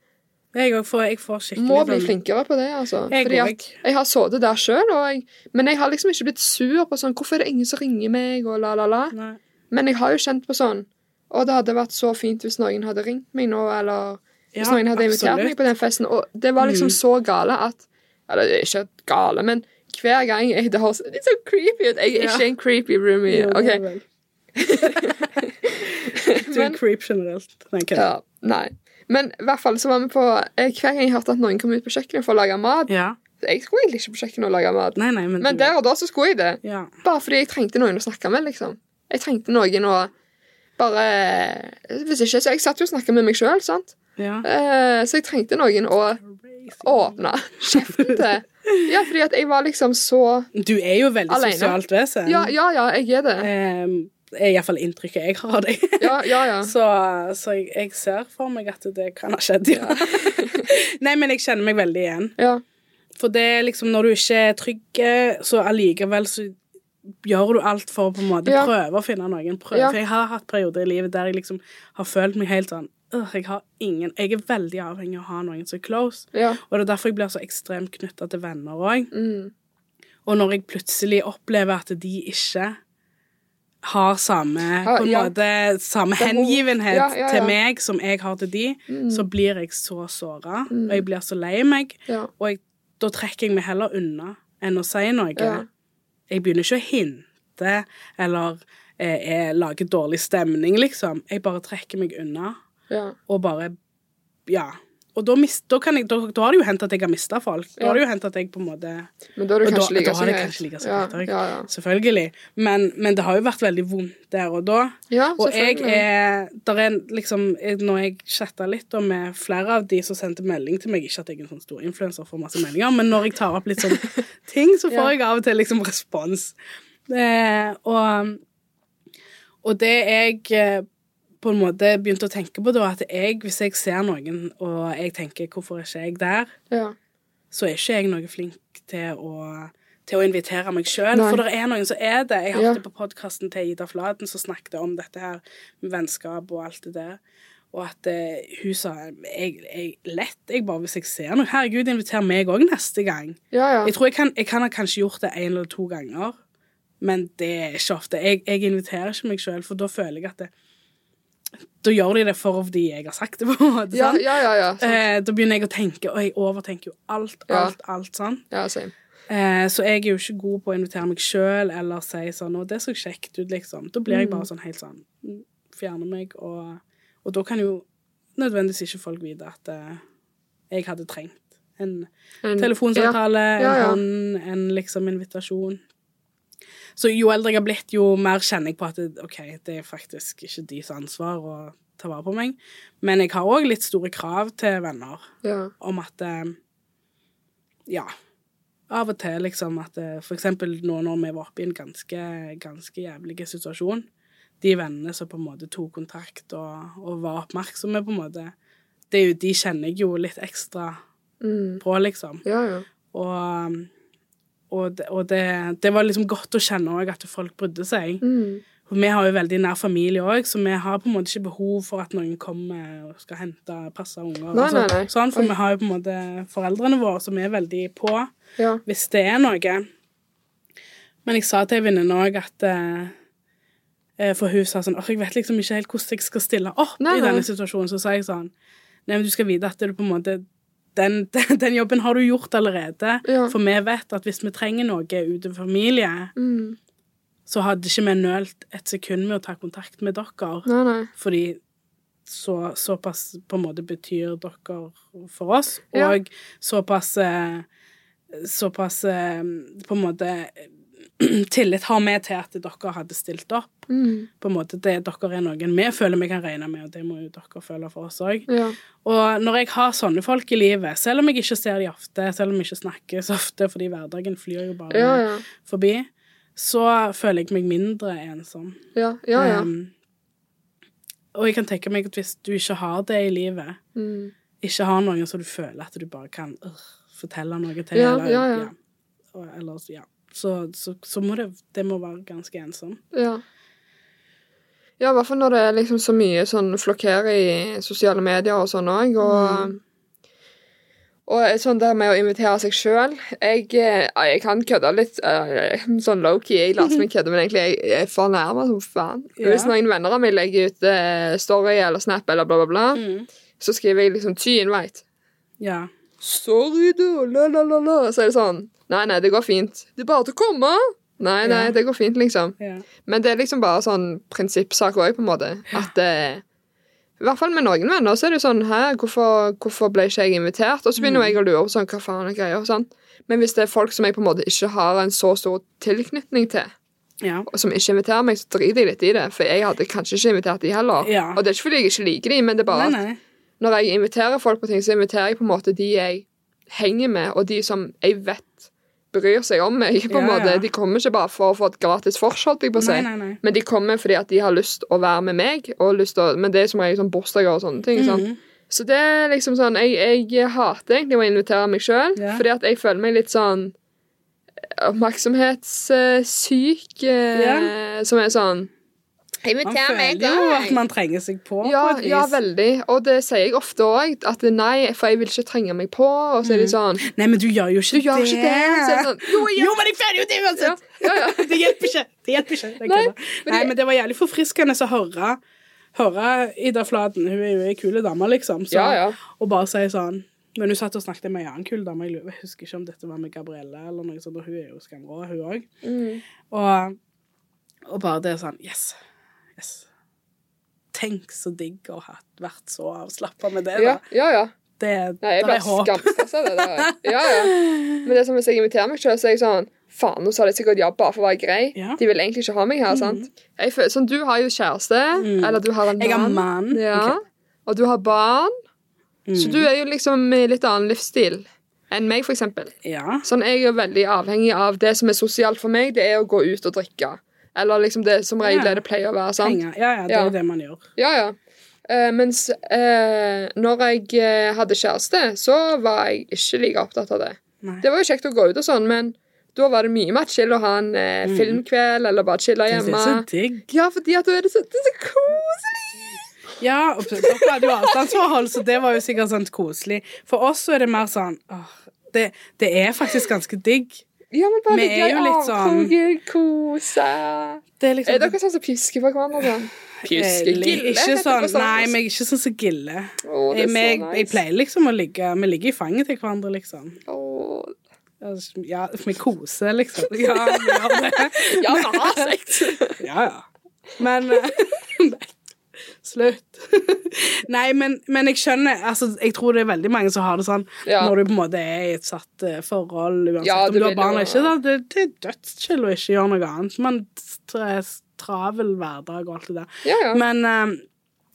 B: Jeg òg får, jeg får skikkelig
A: Må bli
B: sånn-
A: flinkere på det, altså.
B: Jeg
A: Fordi
B: går
A: at
B: vekk.
A: jeg har sittet der sjøl, men jeg har liksom ikke blitt sur på sånn Hvorfor er det ingen som ringer meg, og la, la, la.
B: Nei.
A: Men jeg har jo kjent på sånn Å, det hadde vært så fint hvis noen hadde ringt meg nå, eller hvis
B: Ja,
A: noen hadde invitert
B: absolutt. Mm.
A: meg på den festen. Og det var liksom så gale at Eller det er ikke gale, men hver gang jeg Det høres litt sånn creepy ut. Jeg er
B: Ja.
A: ikke en creepy roomie.
B: Jo, det er
A: OK.
B: vel. Du
A: Men,
B: er creep generelt. Nei, kødd.
A: ja, nei. Men i hvert fall så var vi på eh, Hver gang jeg hørte at noen kom ut på kjøkkenet for å lage mat
B: ja.
A: Jeg skulle egentlig ikke på kjøkkenet og lage mat.
B: Nei, nei, men,
A: Men
B: du-
A: der og da så skulle jeg det.
B: Ja.
A: Bare fordi jeg trengte noen å snakke med, liksom. Jeg trengte noen å bare Hvis ikke, så Jeg satt jo og snakka med meg sjøl, sant.
B: ja.
A: Eh, så jeg trengte noen å åpne kjeften til. Ja, fordi at jeg var liksom så
B: Du er jo veldig
A: Alene.
B: sosialt vesen.
A: Ja, ja, ja, jeg er det.
B: Ehm, er iallfall inntrykket jeg har av deg.
A: Ja, ja, ja.
B: Så, så jeg, jeg ser for meg at det kan ha skjedd, ja. Nei, men jeg kjenner meg veldig igjen.
A: Ja,
B: For det er liksom når du ikke er trygg, så allikevel så gjør du alt for å på en måte
A: Ja.
B: prøve å finne noen. Prøve.
A: Ja.
B: For jeg har hatt perioder i livet der jeg liksom har følt meg helt sånn «Åh, jeg har ingen Jeg er veldig avhengig av å ha noen som er close.
A: ja.
B: Og det er derfor jeg blir så ekstremt knytta til venner òg.
A: Mm.
B: Og når jeg plutselig opplever at de ikke har samme, på en
A: ja.
B: måte, samme
A: er hun-
B: hengivenhet
A: Ja, ja, ja.
B: til meg som jeg har til de,
A: Mm.
B: så blir jeg så såra, og jeg blir så lei meg.
A: Ja.
B: Og jeg, da trekker jeg meg heller unna enn å si noe.
A: Ja.
B: Jeg begynner ikke å hinte eller eh, eh, lage dårlig stemning, liksom. Jeg bare trekker meg unna
A: Ja.
B: og bare Ja. Og da, mis- da, kan jeg, da, da har det jo hendt at jeg har mista folk. Da har det
A: Ja.
B: jo hendt at jeg på en måte
A: Men da er det
B: Og da,
A: kanskje like
B: da
A: så
B: har det
A: greit.
B: kanskje like så
A: Ja,
B: greit òg.
A: ja, ja.
B: Selvfølgelig. Men, men det har jo vært veldig vondt der og da.
A: Ja,
B: Og jeg
A: selvfølgelig.
B: er, der er liksom, jeg- Når jeg chatta litt og med flere av de som sendte melding til meg Ikke at jeg er en sånn stor influenser får masse meldinger, men når jeg tar opp litt sånn ting, så
A: Ja.
B: får jeg av og til liksom respons. Eh, og, og det jeg eh, på en måte begynte å tenke på da, at jeg, hvis jeg ser noen og jeg tenker 'hvorfor er ikke jeg der',
A: Ja.
B: så er ikke jeg noe flink til å, til å invitere meg sjøl.
A: Nei.
B: For det er noen som er det. Jeg
A: Ja.
B: hørte på podkasten til Ida Fladen som snakket om dette her med vennskap og alt det der. Og at eh, hun sa jeg, jeg, lett, jeg bare hvis jeg ser noe Herregud, inviter meg òg neste gang.
A: Ja, ja.
B: Jeg tror jeg kan, jeg kan ha kanskje gjort det én eller to ganger, men det er ikke ofte. Jeg, jeg inviterer ikke meg sjøl, for da føler jeg at det, Da gjør de det fordi jeg har sagt det, på en måte.
A: Ja,
B: sant?
A: ja, ja, ja. sant.
B: Eh, da begynner jeg å tenke, og jeg overtenker jo alt,
A: Sånn. Ja.
B: alt, alt sånn.
A: ja same.
B: Eh, så jeg er jo ikke god på å invitere meg sjøl eller si sånn 'Å, det så kjekt ut', liksom. Da blir jeg bare sånn helt sånn mm, Fjerner meg, og, og da kan jo nødvendigvis ikke folk vite at eh, jeg hadde trengt en
A: En-
B: telefonsamtale,
A: Ja, ja.
B: en hånd, en liksom invitasjon. Så jo eldre jeg har blitt, jo mer kjenner jeg på at det, OK, det er faktisk ikke deres ansvar å ta vare på meg. Men jeg har òg litt store krav til venner
A: Ja. ja.
B: om at eh, Ja. Av og til, liksom, at eh, for eksempel nå når vi var oppe i en ganske, ganske jævlig situasjon De vennene som på en måte tok kontakt og, og var oppmerksomme, på en måte det er jo, De kjenner jeg jo litt ekstra
A: Mm.
B: på, liksom.
A: Ja, ja.
B: Og, og, det, og det, det var liksom godt å kjenne òg at folk brydde seg.
A: Mm.
B: For vi har jo veldig nær familie òg, så vi har på en måte ikke behov for at noen kommer og skal hente passe unger. og
A: Nei,
B: sånn.
A: nei, nei.
B: Sånn, for
A: Oi.
B: vi har jo på en måte foreldrene våre som er veldig på
A: Ja.
B: hvis det er noe. Men jeg sa til ei venninne òg at eh, eh, For hun sa sånn «Åh, jeg vet liksom ikke helt hvordan jeg skal stille opp
A: Nei,
B: i
A: nei.
B: denne situasjonen. Så sa jeg sånn Nei, men du skal vite at du på en måte den, den, den jobben har du gjort allerede.
A: Ja.
B: For vi vet at hvis vi trenger noe utenfor familie,
A: Mm.
B: så hadde ikke vi nølt et sekund med å ta kontakt med dere.
A: Nei, nei.
B: Fordi så, såpass på en måte betyr dere for oss,
A: Ja.
B: og såpass eh, Såpass eh, på en måte tillit har vi til at dere hadde stilt opp.
A: Mm.
B: På en måte, det Dere er noen vi føler vi kan regne med, og det må jo dere føle for oss òg.
A: Ja.
B: Og når jeg har sånne folk i livet, selv om jeg ikke ser de ofte, selv om vi ikke snakker så ofte, fordi hverdagen flyr jo bare
A: Ja, ja.
B: forbi, så føler jeg meg mindre ensom.
A: Ja, ja. ja.
B: Um, og jeg kan tenke meg at hvis du ikke har det i livet,
A: Mm.
B: ikke har noen som du føler at du bare kan øh, fortelle noe til,
A: Ja,
B: eller,
A: ja, ja.
B: Og- eller ja. Så, så, så må det, det må være ganske ensomt.
A: Ja. Ja, i hvert fall når det er liksom så mye sånn flokkere i sosiale medier og sånn òg, og
B: Mm.
A: Og sånn der med å invitere seg sjøl jeg, eh, ja, jeg kan kødde litt eh, sånn low-key. Jeg later som jeg kødder, men egentlig jeg, jeg fornærmer som faen.
B: Ja.
A: Hvis noen venner av meg legger ut eh, story eller snap eller bla, bla, bla,
B: Mm.
A: så skriver jeg liksom 'ty invite'.
B: Ja.
A: Sorry, du. La, la, la, la. Så er det sånn. Nei, nei, det går fint. Det er bare til å komme. Nei, nei,
B: Ja.
A: det går fint, liksom.
B: ja.
A: Men det er liksom bare sånn prinsippsak òg, på en måte. At eh, I hvert fall med noen venner så er det jo sånn Hæ, hvorfor, hvorfor ble ikke jeg invitert? Og så
B: Mm.
A: begynner jo jeg å lure på sånn, hva faen er greia og sånn. Men hvis det er folk som jeg på en måte ikke har en så stor tilknytning til,
B: Ja.
A: og som ikke inviterer meg, så driter jeg litt i det. For jeg hadde kanskje ikke invitert de heller.
B: Ja.
A: Og det er ikke fordi jeg ikke liker de, men det er bare
B: Nei,
A: at
B: nei.
A: når jeg inviterer folk på ting, så inviterer jeg på en måte de jeg henger med, og de som jeg vet bryr seg om meg. på en
B: Ja,
A: måte.
B: ja.
A: De kommer ikke bare for å få et gratis forholdt, jeg på å si.
B: Nei, nei, nei.
A: Men de kommer fordi at de har lyst å være med meg, og lyst å, men det er som regel sånn bursdager og sånne ting. sant? Så det er liksom sånn, jeg, jeg hater egentlig å invitere meg sjøl,
B: Ja.
A: fordi at jeg føler meg litt sånn oppmerksomhetssyk, eh, som er eh, sånn
B: Man
A: Inviter meg,
B: føler jo at
A: da.
B: man trenger seg på
A: Ja,
B: på et vis.
A: ja, veldig. Og det sier jeg ofte òg. At nei, for jeg vil ikke trenge meg på. Og så er de sånn
B: Nei, men du gjør jo ikke
A: Du gjør ikke det. Så er det sånn, jo, jeg
B: Jo, men jeg føler jo det uansett!
A: Ja, ja,
B: det hjelper ikke. Det hjelper ikke. Jeg
A: Nei,
B: kødder.
A: men
B: Nei,
A: det-
B: men det var jævlig forfriskende å høre, høre Ida Fladen. Hun er jo ei kul dame, liksom. Så,
A: Ja, ja.
B: Og bare si sånn Men hun satt og snakket med ei annen kul dame. Jeg lurer- Jeg husker ikke om dette var med Gabrielle eller noe sånt, og hun er jo skamrå, hun òg.
A: Mm.
B: Og, og bare det er sånn Yes. Yes. Tenk så digg å ha vært så avslappa med det, da.
A: ja, ja, ja.
B: Det,
A: Nei, jeg
B: der
A: ble
B: er håp.
A: skamstressa. det der. Ja, ja. Men det er som hvis jeg inviterer meg sjøl, så er jeg sånn Faen, nå sa de sikkert ja bare for å være grei.
B: Ja. Mm.
A: De vil egentlig ikke ha meg her. sant? Jeg føler, sånn, Du har jo kjæreste, eller du har en
B: Jeg har
A: mann.
B: mann.
A: Ja.
B: Ok. Mm.
A: Og du har barn. Så du er jo liksom i litt annen livsstil enn meg, for eksempel.
B: Ja.
A: Sånn, jeg er veldig avhengig av det som er sosialt for meg, det er å gå ut og drikke. Eller liksom det som regel
B: Ja.
A: er det pleier å være. sant?
B: Penger. Ja, ja, det
A: Ja.
B: er det man gjør.
A: Ja, ja. Eh, mens eh, når jeg eh, hadde kjæreste, så var jeg ikke like opptatt av det.
B: Nei.
A: Det var jo kjekt å gå ut og sånn, men da var det mye mer chill å ha en eh, filmkveld eller bare chille
B: Jeg synes
A: hjemme.
B: Mm. det er så digg.
A: Ja, fordi at da er det så, det er så koselig!
B: Ja, og så- dere hadde jo avstandsforhold, så det var jo sikkert sånn koselig. For oss så er det mer sånn åh, det, det er faktisk ganske digg.
A: Ja, men bare
B: Vi er
A: ligge
B: jo
A: i
B: litt sånn-
A: avkroken, kose
B: Det er liksom
A: Er dere sånn som pisker på hverandre? da? Pisker?
B: Eller
A: Gille?
B: Ikke sånn,
A: heter det på
B: nei,
A: Sandnes.
B: men jeg er ikke sånn som gille.
A: Å, det
B: jeg,
A: er så
B: men jeg, jeg
A: nice.
B: pleier liksom å ligge Vi ligger i fanget til hverandre, liksom.
A: Å,
B: Altså, Ja, vi koser, liksom. Ja, vi gjør det.
A: Ja, vi har sex!
B: Ja, ja. Men eh, Nei. Slutt. Nei, men, men jeg skjønner altså, Jeg tror det er veldig mange som har det sånn
A: Ja.
B: når du på en måte er i et satt eh, forhold, uansett
A: Ja,
B: om
A: du
B: du har
A: vil jo
B: barn eller ikke. Da,
A: være-
B: det, det er dødschill å ikke gjøre noe annet. Man er travel hverdag og alt det der.
A: Ja, ja.
B: Men, eh,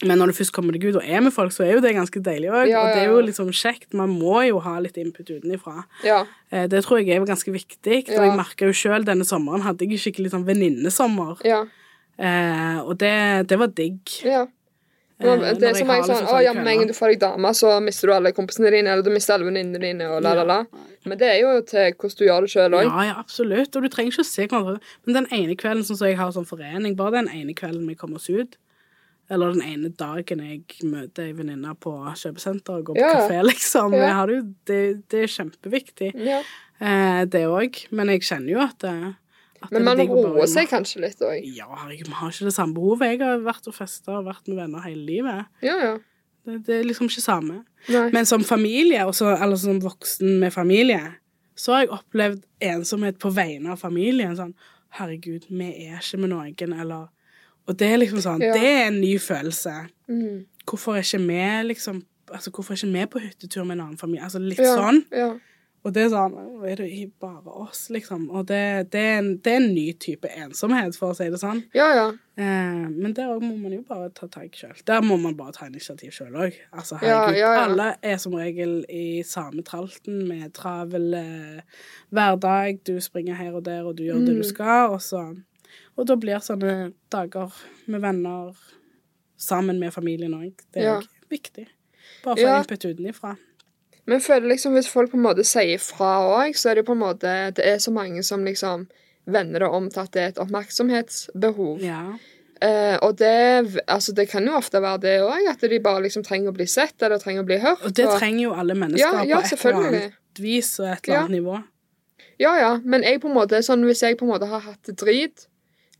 B: men når du først kommer deg ut og er med folk, så er jo det ganske deilig òg.
A: Ja,
B: Og det
A: ja,
B: er jo
A: ja.
B: liksom kjekt. Man må jo ha litt input utenifra.
A: Ja.
B: Eh, Det tror jeg er jo ganske viktig.
A: Ja.
B: Og jeg merka jo sjøl denne sommeren hadde jeg skikkelig sånn venninnesommer.
A: ja.
B: Eh, og det, det var digg.
A: Ja.
B: Eh,
A: Nå, det er
B: når
A: så
B: jeg
A: mange
B: har
A: sånn
B: liksom
A: Å
B: sånne
A: ja, med en gang du får deg dame, så mister du alle kompisene dine, eller du mister alle venninnene dine, og la, la, la. Men det er jo til hvordan du gjør det sjøl òg.
B: Ja, ja, absolutt. Og du trenger ikke å se hverandre. Men den ene kvelden sånn som jeg har sånn forening, bare den ene kvelden vi kommer oss ut, eller den ene dagen jeg møter ei venninne på kjøpesenter og går på
A: Ja, ja.
B: kafé, liksom.
A: Ja.
B: Jeg har det, jo- det, det er kjempeviktig,
A: Ja.
B: eh, det òg. Men jeg kjenner jo at, det- at det er
A: Men man
B: digg å bare-
A: roer seg kanskje litt òg.
B: Ja, herregud, vi har ikke det samme behovet. Jeg har vært og festa og vært med venner hele livet.
A: Ja, ja.
B: Det, det er liksom ikke samme.
A: Nei.
B: Men som familie, også, eller som voksen med familie, så har jeg opplevd ensomhet på vegne av familien. Sånn, herregud, vi er ikke med noen, eller Og det er liksom sånn,
A: Ja.
B: det er en ny følelse.
A: Mm.
B: Hvorfor er ikke vi liksom Altså, hvorfor er ikke vi på hyttetur med en annen familie? Altså litt
A: Ja,
B: sånn.
A: ja.
B: Og det er sånn «Å, Er det i- bare oss, liksom? Og det, det, er en, det er en ny type ensomhet, for å si det sånn.
A: ja, ja.
B: Eh, men der òg må man jo bare ta tak sjøl. Der må man bare ta initiativ sjøl òg. Altså,
A: Ja,
B: herregud,
A: ja, ja.
B: Alle er som regel i samme tralten med travel eh, hverdag. Du springer her og der, og du gjør det du
A: Mm.
B: skal, og så Og da blir sånne dager med venner sammen med familien òg. Det er
A: Ja.
B: òg viktig. Bare få
A: Ja.
B: input utenfra.
A: Men jeg føler liksom hvis folk på en måte sier fra òg, så er det jo på en måte Det er så mange som liksom vender det om til at det er et oppmerksomhetsbehov.
B: Ja.
A: Eh, og det, altså det kan jo ofte være det òg, at de bare liksom trenger å bli sett eller trenger å bli hørt.
B: Og det trenger jo alle
A: Ja, ja,
B: mennesker på et eller
A: selvfølgelig.
B: annet vis og et eller
A: Ja.
B: annet nivå.
A: Ja, ja, men jeg på en måte, sånn, hvis jeg på en måte har hatt det drit,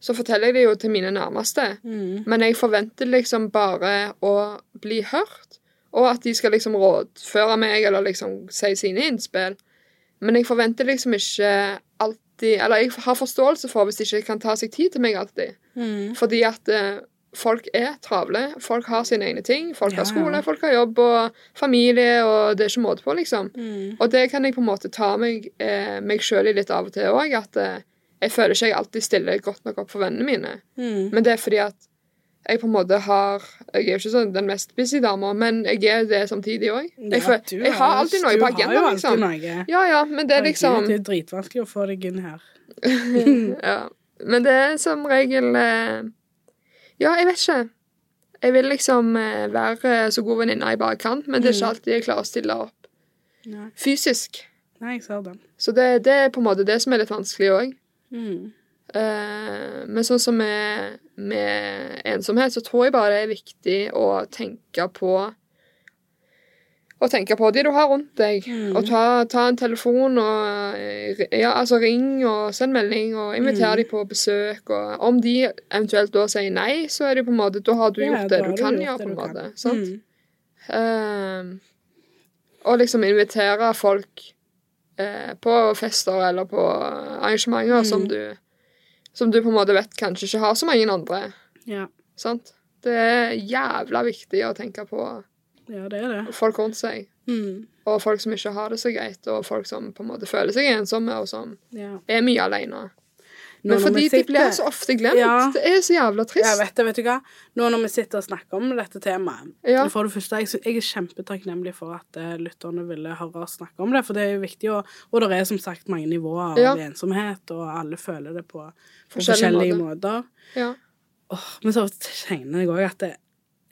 A: så forteller jeg det jo til mine nærmeste.
B: Mm.
A: Men jeg forventer liksom bare å bli hørt, og at de skal liksom rådføre meg eller liksom si sine innspill. Men jeg forventer liksom ikke alltid Eller jeg har forståelse for hvis de ikke kan ta seg tid til meg alltid.
B: Mm.
A: Fordi at eh, folk er travle. Folk har sine egne ting. Folk
B: Ja,
A: har
B: ja.
A: skole, folk har jobb og familie, og det er ikke måte på, liksom.
B: Mm.
A: Og det kan jeg på en måte ta meg, eh, meg sjøl i litt av og til òg. At eh, jeg føler ikke jeg alltid stiller godt nok opp for vennene mine.
B: Mm.
A: Men det er fordi at jeg på en måte har Jeg er jo ikke sånn den mest busy dama, men jeg er det samtidig òg. Jeg,
B: Ja,
A: føl-
B: du
A: jeg
B: er-
A: har alltid noe på
B: Du har
A: agendaen,
B: jo alltid
A: liksom.
B: noe.
A: Ja, ja, men det er liksom
B: Herregud, Det er dritvanskelig å få deg inn her.
A: ja. Men det er som regel eh, Ja, jeg vet ikke. Jeg vil liksom eh, være så god venninne jeg bare kan, men det
B: Mm.
A: er ikke alltid jeg klarer å stille opp
B: Nei,
A: fysisk.
B: Nei jeg ser den.
A: Så det, det er på en måte det som er litt vanskelig òg. Eh, men sånn som med, med ensomhet, så tror jeg bare det er viktig å tenke på å tenke på de du har rundt deg,
B: Mm.
A: og ta, ta en telefon og eh, ja, altså ring og send melding og inviter
B: Mm.
A: de på besøk. Og om de eventuelt da sier nei, så er det på en måte, da har du
B: Ja,
A: gjort
B: da
A: det
B: har
A: du
B: du
A: kan
B: gjort
A: gjøre.
B: det
A: på en
B: du kan.
A: måte, sant?
B: Mm.
A: Ehm, og liksom invitere folk eh, på fester eller på eh, arrangementer
B: Mm.
A: som, du, som du på en måte vet kanskje ikke har så mange andre.
B: Ja.
A: Sant? Det er jævla viktig å tenke på
B: ja, det er det.
A: folk rundt seg.
B: Mm.
A: Og folk som ikke har det så greit, og folk som på en måte føler seg ensomme, og som
B: Ja.
A: er mye alene.
B: Nå
A: Men
B: når vi
A: fordi de
B: sitter-
A: blir så ofte glemt.
B: Ja.
A: Det er så jævla
B: Ja,
A: trist.
B: vet du, vet du hva? Nå når vi sitter og snakker om dette temaet
A: Ja.
B: For det første, jeg, sy- jeg er kjempetakknemlig for at eh, lytterne ville høre oss snakke om det, for det er jo viktig, å, og det er som sagt mange nivåer av
A: Ja.
B: ensomhet, og alle føler det på, på
A: Forskjellige
B: forskjellige måter.
A: Ja.
B: Åh, men så kjenner jeg òg at det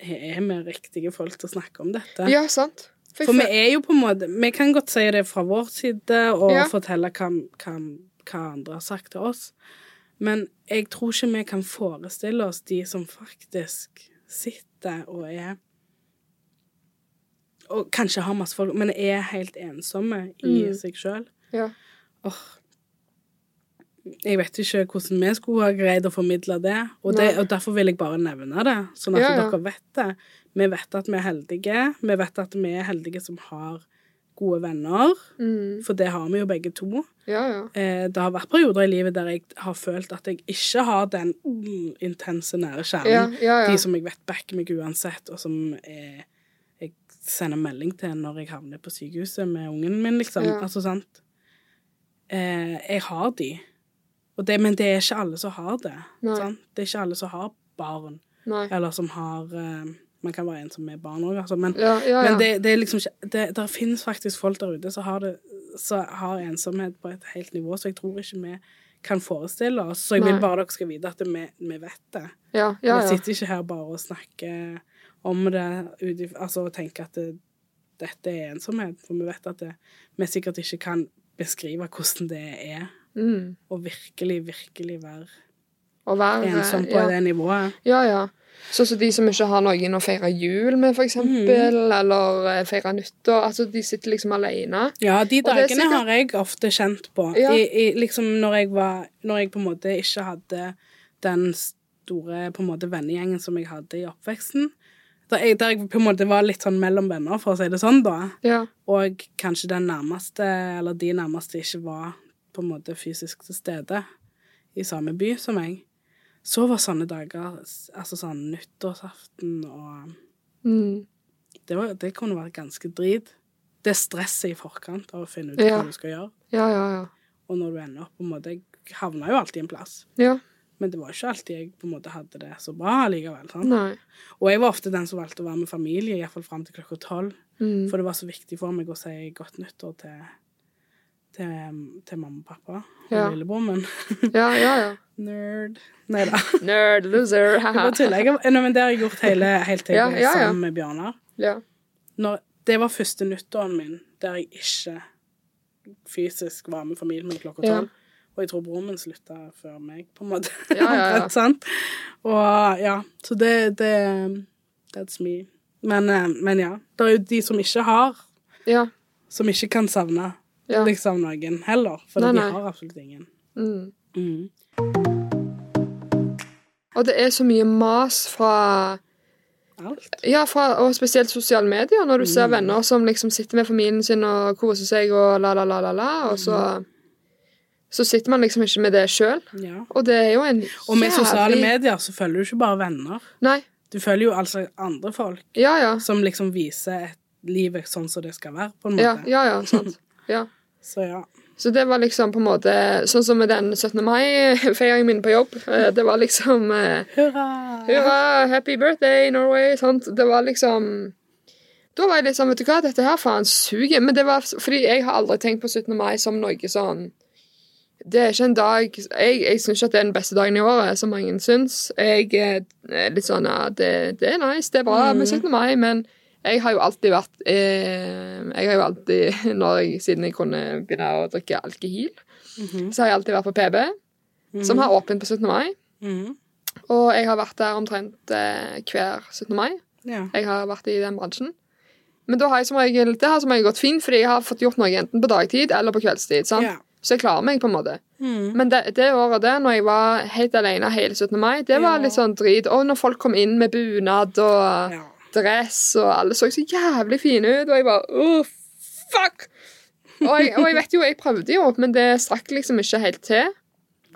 B: er vi riktige folk til å snakke om dette.
A: ja, sant. jeg
B: For vi
A: føl-
B: er jo på en måte Vi kan godt si det fra vår side og
A: Ja.
B: fortelle hva, hva, hva andre har sagt til oss. Men jeg tror ikke vi kan forestille oss de som faktisk sitter og er Og kanskje har masse folk, men er helt ensomme i
A: Mm.
B: seg sjøl.
A: ja.
B: Åh. Jeg vet ikke hvordan vi skulle ha greid å formidle det, og, det,
A: Nei.
B: og derfor vil jeg bare nevne det, sånn at
A: Ja, ja.
B: dere vet det. Vi vet at vi er heldige. Vi vet at vi er heldige som har gode venner,
A: Mm.
B: for det har vi jo begge to.
A: ja, ja.
B: Eh, det har vært perioder i livet der jeg har følt at jeg ikke har den mm, intense, nære
A: Ja,
B: kjernen.
A: ja, ja.
B: De som jeg vet backer meg uansett, og som eh, jeg sender melding til når jeg havner på sykehuset med ungen min, liksom.
A: Ja.
B: Altså, sant? Eh, jeg har de. Og det, men det er ikke alle som har det.
A: Nei.
B: Sant? Det er ikke alle som har barn,
A: Nei.
B: eller som har eh, Man kan være en som er barn òg, altså. Men,
A: Ja, ja, ja.
B: men det, det er liksom ikke det, Der finnes faktisk folk der ute som har, det, som har ensomhet på et helt nivå, så jeg tror ikke vi kan forestille oss. Så jeg
A: Nei.
B: vil bare dere skal vite at vi, vi vet det.
A: ja, ja,
B: Vi
A: ja.
B: sitter ikke her bare og snakker om det ut if- altså, og tenker at det, dette er ensomhet, for vi vet at det, vi sikkert ikke kan beskrive hvordan det er
A: Mm.
B: å virkelig, virkelig være
A: Å være
B: ensom på
A: ja.
B: det nivået.
A: Ja, ja. Sånn som de som ikke har noen å feire jul med, for eksempel,
B: Mm.
A: eller eh, feire nyttår. Altså, de sitter liksom alene.
B: Ja, de
A: Og det er
B: dagene
A: sikkert-
B: har jeg ofte kjent på.
A: Ja.
B: I, i, liksom når jeg var Når jeg på en måte ikke hadde den store på en måte vennegjengen som jeg hadde i oppveksten. Der jeg, der jeg på en måte var litt sånn mellom venner, for å si det sånn, da.
A: Ja,
B: Og kanskje den nærmeste, eller de nærmeste, ikke var på en måte fysisk til stede i samme by som meg. Så var sånne dager, s- altså sånn nyttårsaften og
A: mm.
B: Det, var, det kunne vært ganske drit. Det er stresset i forkant av å finne ut
A: Ja.
B: hva du skal gjøre.
A: ja, ja. ja.
B: Og når du ender opp på en måte Jeg havna jo alltid en plass.
A: Ja,
B: Men det var jo ikke alltid jeg på en måte hadde det så bra likevel. Sant?
A: nei.
B: Og jeg var ofte den som valgte å være med familie, iallfall fram til klokka tolv.
A: Mm.
B: For det var så viktig for meg å si godt nyttår til, til, til mamma og pappa og
A: Ja.
B: lillebror min.
A: Ja, ja, ja.
B: Nerd. Nei da.
A: Nerd loser. haha.
B: Bare tuller. Jeg har- Nei, men det har jeg gjort hele, helt til jeg
A: Ja,
B: ble
A: ja, ja.
B: sammen med Bjørnar.
A: ja.
B: Når, det var første nyttåren min der jeg ikke fysisk var med familien min klokka
A: Ja.
B: tolv. Og jeg tror broren min slutta før meg, på en måte.
A: Ja, ja, ja.
B: Omtrent, sant? Og ja, så det, det That's me. Men, eh, men ja. Det er jo de som ikke har,
A: ja.
B: som ikke kan savne
A: Ja.
B: liksom noen heller. For
A: Nei,
B: de
A: nei.
B: har absolutt ingen.
A: Mm.
B: Mm.
A: Og det er så mye mas fra
B: Alt.
A: Ja, fra, og spesielt sosiale medier, når du
B: Mm.
A: ser venner som liksom sitter med familien sin og koser seg og la, la, la, la, la, og så
B: Mm.
A: Så sitter man liksom ikke med det sjøl,
B: Ja.
A: og det er jo en
B: Og med sosiale
A: jævlig-
B: medier så følger du ikke bare venner.
A: Nei.
B: Du følger jo altså andre folk
A: Ja, ja.
B: som liksom viser et livet sånn som det skal være, på en måte.
A: Ja, ja, ja, sant. Ja.
B: Så ja.
A: Så det var liksom på en måte Sånn som med den 17. mai-feiringen min på jobb. eh, Det var liksom eh,
B: Hurra!
A: Hurra, happy birthday, Norway! Sant? Det var liksom Da var jeg litt sånn, vet du hva, dette her faen suger. Men det var fordi jeg har aldri tenkt på 17. mai som noe sånn Det er ikke en dag Jeg, jeg syns ikke at det er den beste dagen i året, som mange syns. Jeg er litt sånn ja, det, det er nice, det er bra med 17. mai, men jeg har jo alltid vært eh, Jeg har jo alltid, når jeg, siden jeg kunne begynne å drikke alkohol, så har jeg alltid vært på PB. som
B: Mm.
A: har åpent på 17. mai.
B: Mhm.
A: Og jeg har vært der omtrent eh, hver 17. mai.
B: Ja.
A: Jeg har vært i den bransjen. Men da har jeg som regel, det har som regel gått fint, fordi jeg har fått gjort noe enten på dagtid eller på kveldstid. Sant?
B: Ja.
A: Så jeg klarer meg, på en måte.
B: Mhm.
A: Men det, det året der, når jeg var helt alene hele 17. mai, det var
B: Ja.
A: litt sånn drit. Og når folk kom inn med bunad og
B: ja.
A: dress, og alle så så jævlig fine ut, og jeg bare åh, fuck! Og jeg, og jeg vet jo, jeg prøvde jo, men det strakk liksom ikke helt til.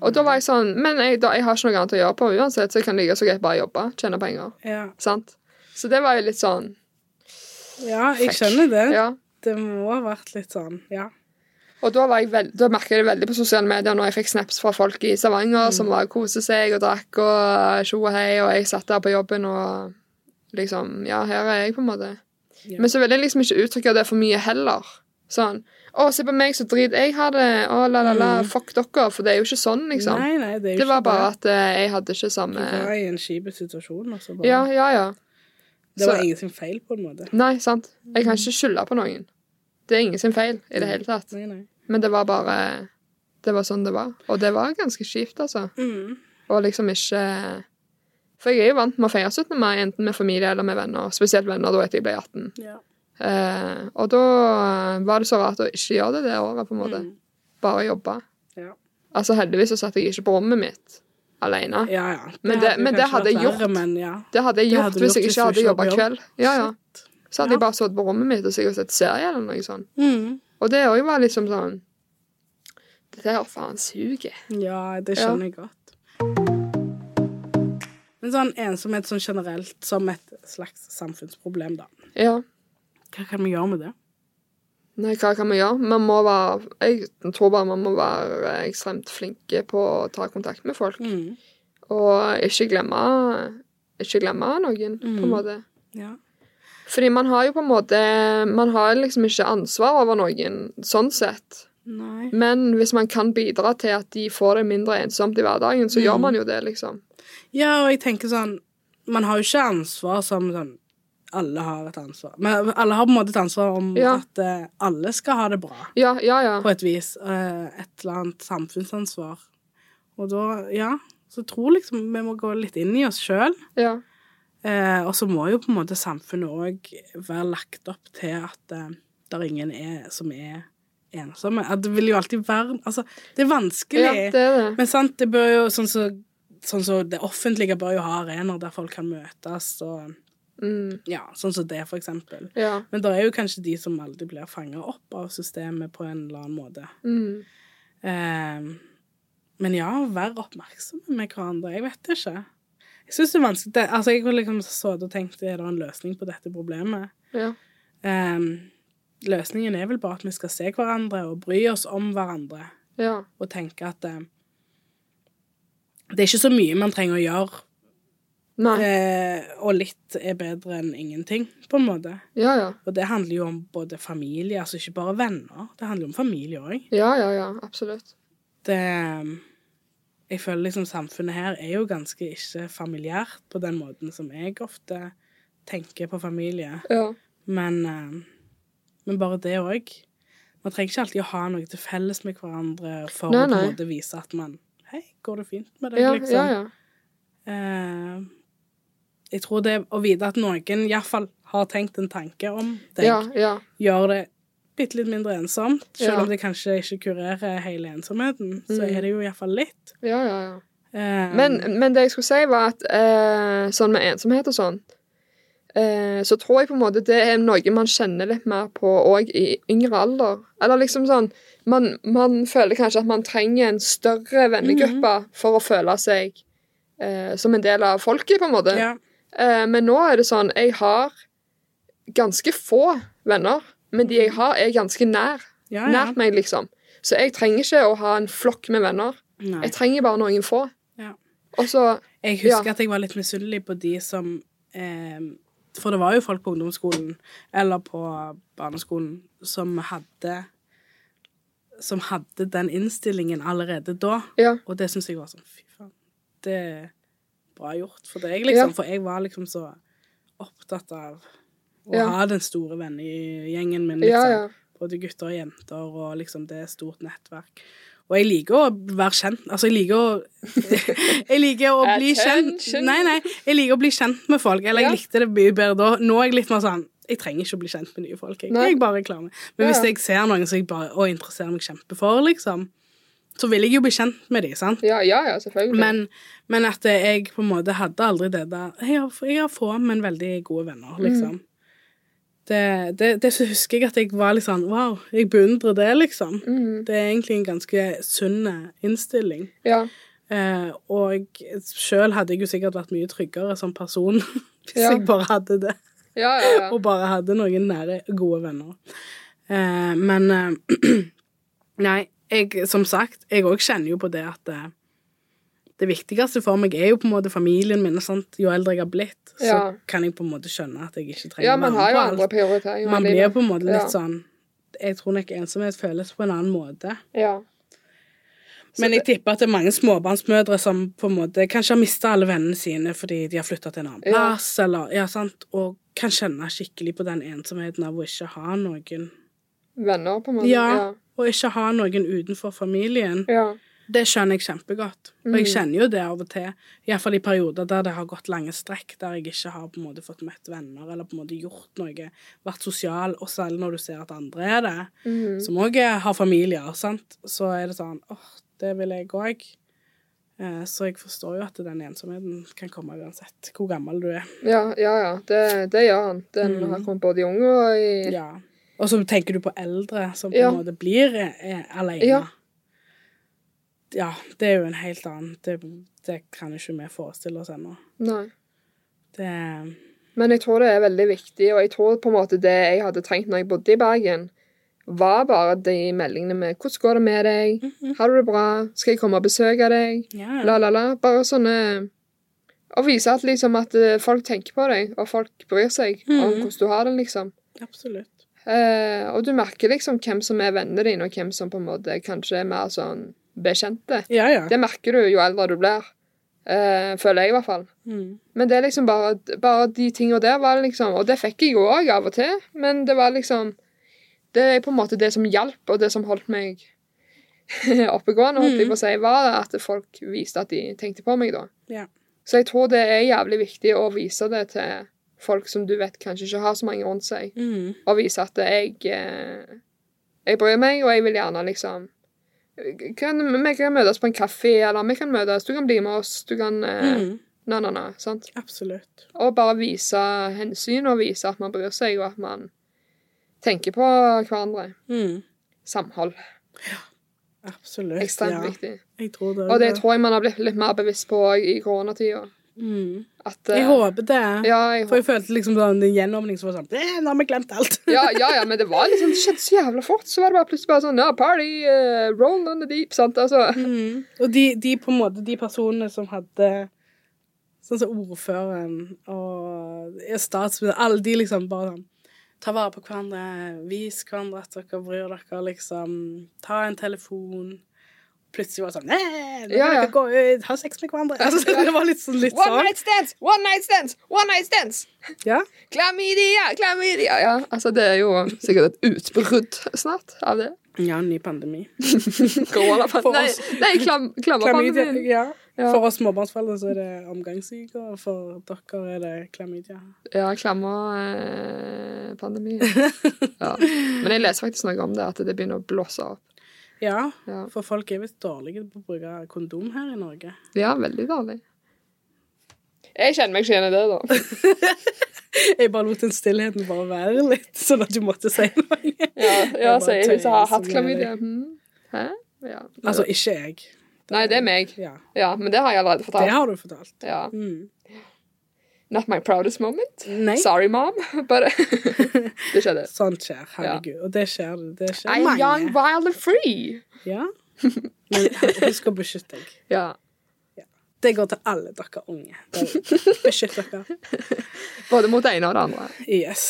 A: Og da var jeg sånn Men jeg, da, jeg har ikke noe annet å gjøre på uansett, så jeg kan like så greit bare jobbe. Tjene penger.
B: Ja.
A: Sant? Så det var jo litt sånn
B: ja, jeg skjønner det.
A: Ja.
B: Det må ha vært litt sånn, ja.
A: Og da, var jeg veld, da merket jeg det veldig på sosiale medier når jeg fikk snaps fra folk i
B: Mm.
A: Stavanger som var kose seg og drakk og tjo og hei, og jeg satt der på jobben og liksom Ja, her er jeg, på en måte.
B: Ja.
A: Men så ville jeg liksom ikke uttrykke det for mye heller. Sånn Å, se på meg, så drit jeg har det. Å, la, la, la. Fuck dere. For det er jo ikke sånn, liksom.
B: Mm. Nei, nei, det er jo
A: det var
B: ikke
A: bare
B: det.
A: at eh, jeg hadde ikke
B: Du
A: samme
B: var i en kjip situasjon, og så bare
A: Ja, ja, ja.
B: Det var
A: så-
B: ingen sin feil, på en måte.
A: Nei, sant. Jeg
B: Mm.
A: kan ikke skylde på noen. Det er ingen sin feil i det hele tatt.
B: Nei, nei.
A: Men det var bare Det var sånn det var. Og det var ganske kjipt, altså.
B: Mm.
A: Og liksom ikke For jeg er jo vant med å feire 17. mai, enten med familie eller med venner. Spesielt venner da etter jeg ble 18.
B: Ja.
A: Eh, og da var det så rart å ikke gjøre det det året, på en måte.
B: Mm.
A: Bare jobbe.
B: Ja.
A: Altså heldigvis så satt jeg ikke på rommet mitt alene.
B: ja, ja.
A: Men det- men det
B: kanskje
A: hadde
B: vært
A: jeg
B: verre,
A: gjort.
B: Men ja.
A: Det hadde jeg
B: Det
A: gjort
B: hadde du
A: hvis
B: gjort
A: jeg
B: hvis du
A: ikke hadde
B: ikke
A: jobba
B: jobbet.
A: kveld. Ja, ja. Så hadde
B: Ja.
A: jeg bare sittet på rommet mitt og sikkert sett serie eller noe sånt.
B: Mm.
A: Og det òg var liksom sånn Dette her faen suger.
B: Ja, det skjønner jeg godt. Men sånn ensomhet sånn generelt, som et slags samfunnsproblem, da.
A: Ja.
B: Hva kan vi gjøre med det?
A: Nei, hva kan vi gjøre? Man må være, jeg tror bare man må være ekstremt flinke på å ta kontakt med folk.
B: Mm.
A: Og ikke glemme, ikke glemme noen, på
B: Mm.
A: en måte.
B: Ja.
A: Fordi man har jo på en måte Man har liksom ikke ansvar over noen, sånn sett.
B: Nei.
A: Men hvis man kan bidra til at de får det mindre ensomt i hverdagen, så
B: Mm.
A: gjør man jo det, liksom.
B: Ja, og jeg tenker sånn Man har jo ikke ansvar som sånn Alle har et ansvar. Men alle har på en måte et ansvar om
A: Ja.
B: at eh, alle skal ha det bra,
A: Ja, ja, ja.
B: på et vis. Eh, et eller annet samfunnsansvar. Og da, ja Så jeg tror liksom vi må gå litt inn i oss sjøl.
A: ja.
B: Eh, og så må jo på en måte samfunnet òg være lagt opp til at eh, der ingen er som er ensomme. At det vil jo alltid være Altså, det er vanskelig.
A: ja det er det.
B: Men sant, det bør jo sånn som så, Sånn så det offentlige bør jo ha arenaer der folk kan møtes, og
A: Mm,
B: ja, sånn som det, for eksempel.
A: ja.
B: Men det er jo kanskje de som aldri blir fanga opp av systemet på en eller annen måte.
A: Mm.
B: Eh, men ja, vær oppmerksomme med hverandre. Jeg vet ikke. Jeg syns det er vanskelig det, Altså, jeg har liksom sittet og tenkt er det en løsning på dette problemet.
A: Ja.
B: Eh, løsningen er vel bare at vi skal se hverandre og bry oss om hverandre
A: Ja.
B: og tenke at eh, det er ikke så mye man trenger å gjøre,
A: Nei.
B: eh, og litt er bedre enn ingenting, på en måte.
A: Ja, ja.
B: Og det handler jo om både familie, altså ikke bare venner, det handler jo om familie òg.
A: Ja, ja, ja. Absolutt.
B: Det eh, Jeg føler liksom samfunnet her er jo ganske ikke familiært på den måten som jeg ofte tenker på familie,
A: Ja.
B: men eh, men bare det òg. Man trenger ikke alltid å ha noe til felles med hverandre for
A: Nei,
B: å på en
A: nei.
B: måte vise at man Hei, går det fint med deg,
A: Ja,
B: liksom?
A: ja, ja.
B: Eh, jeg tror det å vite at noen iallfall har tenkt en tanke om deg,
A: Ja, ja.
B: gjør det bitte litt mindre ensomt. Selv
A: Ja.
B: om det kanskje ikke kurerer hele ensomheten, så
A: Mm.
B: er det jo iallfall litt.
A: ja, ja, ja.
B: Eh,
A: Men, men det jeg skulle si, var at eh, sånn med ensomhet og sånn, eh, så tror jeg på en måte det er noe man kjenner litt mer på òg i yngre alder. Eller liksom sånn man, man føler kanskje at man trenger en større vennegruppe
B: Mhm.
A: for å føle seg eh, som en del av folket, på en måte.
B: ja,
A: Eh, men nå er det sånn Jeg har ganske få venner, men de jeg har, er ganske nær.
B: Mhm. ja, ja.
A: Nært meg, liksom. Så jeg trenger ikke å ha en flokk med venner.
B: Nei.
A: Jeg trenger bare noen få.
B: Ja.
A: Og så
B: Jeg husker at jeg var litt misunnelig på de som eh, For det var jo folk på ungdomsskolen eller på barneskolen som hadde Som hadde den innstillingen allerede da.
A: Ja.
B: Og det syns jeg var sånn Fy faen, det er bra gjort for deg, liksom.
A: Ja.
B: For jeg var liksom så opptatt av å
A: Ja.
B: ha den store vennegjengen min,
A: Ja,
B: liksom.
A: ja.
B: Både gutter og jenter, og liksom det er et stort nettverk. Og jeg liker å være kjent. Altså, jeg liker å Jeg liker å bli kjent
A: Attention.
B: Nei, nei, jeg liker å bli kjent med folk. Eller
A: Ja.
B: jeg likte det mye bedre da. Nå er jeg litt mer sånn Jeg trenger ikke å bli kjent med nye folk. Jeg,
A: Nei.
B: jeg bare klarer meg. Men
A: Ja,
B: hvis
A: ja.
B: jeg ser noen som jeg bare og interesserer meg kjempe for, liksom, så vil jeg jo bli kjent med dem, sant?
A: Ja, ja, ja selvfølgelig.
B: Men, men at jeg på en måte hadde aldri det der Jeg har, jeg har få, men veldig gode venner, liksom. Det, det, det så husker jeg at jeg var litt sånn Wow, jeg beundrer det, liksom.
A: Mhm.
B: Det er egentlig en ganske sunn eh, innstilling.
A: ja.
B: Eh, og sjøl hadde jeg jo sikkert vært mye tryggere som person hvis
A: Ja.
B: jeg bare hadde det,
A: ja, ja, ja.
B: og bare hadde noen nære, gode venner. Eh, men eh, Nei, jeg, som sagt, jeg òg kjenner jo på det at eh, det viktigste for meg er jo på en måte familien min. og Sant? Jo eldre jeg har blitt, så
A: Ja.
B: kan jeg på en måte skjønne at jeg ikke trenger
A: ja,
B: å
A: man
B: være
A: har
B: med
A: jo
B: på
A: andre
B: alt.
A: prioriteringer. i
B: Man blir
A: livet.
B: på en måte
A: Ja.
B: litt sånn Jeg tror nok ensomhet føles på en annen måte.
A: Ja.
B: Men jeg tipper at det er mange småbarnsmødre som på en måte kanskje har mista alle vennene sine fordi de har flytta til en annen
A: Ja.
B: plass, eller ja, sant, og kan kjenne skikkelig på den ensomheten av å ikke ha noen.
A: Venner, på en måte.
B: Ja,
A: Ja.
B: og ikke ha noen utenfor familien.
A: ja.
B: Det skjønner jeg kjempegodt, og jeg kjenner jo det av og til, iallfall i perioder der det har gått lange strekk, der jeg ikke har på en måte fått møtt venner eller på en måte gjort noe, vært sosial, og særlig når du ser at andre er det
A: Mhm.
B: Mm. som òg har familier, sant? så er det sånn åh, det vil jeg òg. Eh, Så jeg forstår jo at den ensomheten kan komme uansett hvor gammel du er.
A: ja, ja, ja. Det, det gjør han. Den har kommet både i unge og i
B: Mm. Ja. Og så tenker du på eldre som på
A: Ja.
B: en måte blir eh, alene. Ja.
A: Ja.
B: det er jo en helt annen Det, det kan jo ikke vi forestille oss ennå.
A: Nei.
B: Det
A: Men jeg tror det er veldig viktig, og jeg tror på en måte det jeg hadde trengt når jeg bodde i Bergen, var bare de meldingene med 'Hvordan går det med deg?
B: Mhm.
A: Har du det bra? Skal jeg komme og besøke deg?'
B: Ja.
A: La, la, la. Bare sånne Å vise at, liksom, at eh, folk tenker på deg, og folk bryr seg om
B: Mhm.
A: hvordan du har det, liksom.
B: Absolutt.
A: Eh, og du merker liksom hvem som er vennene dine, og hvem som på en måte kanskje er mer sånn bekjente.
B: Ja, ja.
A: Det merker du jo eldre du blir. Eh, føler jeg, i hvert fall.
B: Mm.
A: Men det er liksom bare, bare de tinga der var liksom Og det fikk jeg jo òg av og til, men det var liksom Det er på en måte det som hjalp, og det som holdt meg oppegående, holdt
B: Mm.
A: jeg på å si, var at folk viste at de tenkte på meg, da.
B: ja.
A: Så jeg tror det er jævlig viktig å vise det til folk som du vet kanskje ikke har så mange rundt seg
B: Mm.
A: og vise at jeg eh, jeg bryr meg, og jeg vil gjerne liksom kan, Vi kan møtes på en kaffe, eller vi kan møtes, du kan bli med oss, du kan eh,
B: Mm.
A: Na, na, na. Sant?
B: Absolutt.
A: Og bare vise hensyn, og vise at man bryr seg, og at man tenker på hverandre.
B: Mm.
A: Samhold.
B: Absolutt.
A: Ekstremt
B: ja.
A: viktig.
B: Jeg tror det.
A: Og det tror jeg man har blitt litt mer bevisst på også i koronatida.
B: mm.
A: At, eh,
B: Jeg håper det.
A: Ja, jeg håper.
B: For jeg følte liksom sånn en gjenåpning som var sånn «Eh, Nå har vi glemt alt.
A: Ja, ja, ja, men det var liksom, det skjedde så jævla fort. Så var det bare plutselig bare sånn ja, party, eh, roll on the deep, sant? Altså,
B: Mm. Og de, de på en måte, de personene som hadde Sånn som ordføreren og statsministeren, alle de liksom bare sånn Ta vare på hverandre, vis hverandre at dere bryr dere, liksom. Ta en telefon. Plutselig var det sånn «Eh, Nå kan
A: Ja, ja.
B: dere gå ut, ha sex med hverandre. Altså, det var litt sånn. Litt
A: One
B: sånn.
A: night stands! One night stands! One night stands!
B: Ja.
A: Klamydia! Klamydia! Ja, altså det er jo sikkert et utbrudd snart av det.
B: ja, ny pandemi. For
A: Koronapandemi. Nei,
B: oss.
A: nei klam,
B: Klamydia,
A: klammerpandemi.
B: ja.
A: Ja.
B: For oss småbarnsforeldre så er det omgangssyke, og for dere er det klamydia.
A: Ja, klammerpandemi. Ja. Men jeg leser faktisk noe om det, at det begynner å blåse opp.
B: Ja,
A: Ja,
B: for folk er visst dårlige på å bruke kondom her i Norge.
A: ja veldig dårlig. Jeg kjenner meg ikke igjen i det, da.
B: Jeg bare lot den stillheten bare være litt, sånn at du måtte si noe.
A: Ja, ja
B: Jeg bare
A: sier hun som har hatt
B: tøyer så mye.
A: klamydia. Hm? Hæ? Ja.
B: Altså, ikke jeg.
A: Nei, det er meg.
B: Ja,
A: Ja, men det har jeg allerede
B: det
A: fortalt.
B: har du fortalt.
A: Ja.
B: Mm.
A: Not my proudest moment.
B: Nei,
A: Sorry, mom. But det skjedde.
B: sånt skjer, herregud. Og det skjer, det skjer
A: I'm young,
B: mange.
A: wild and free.
B: Ja. Men husk å beskytte deg.
A: Ja.
B: Det går til alle dere unge. der ute. Beskytt dere.
A: Både mot det ene og det andre.
B: Yes.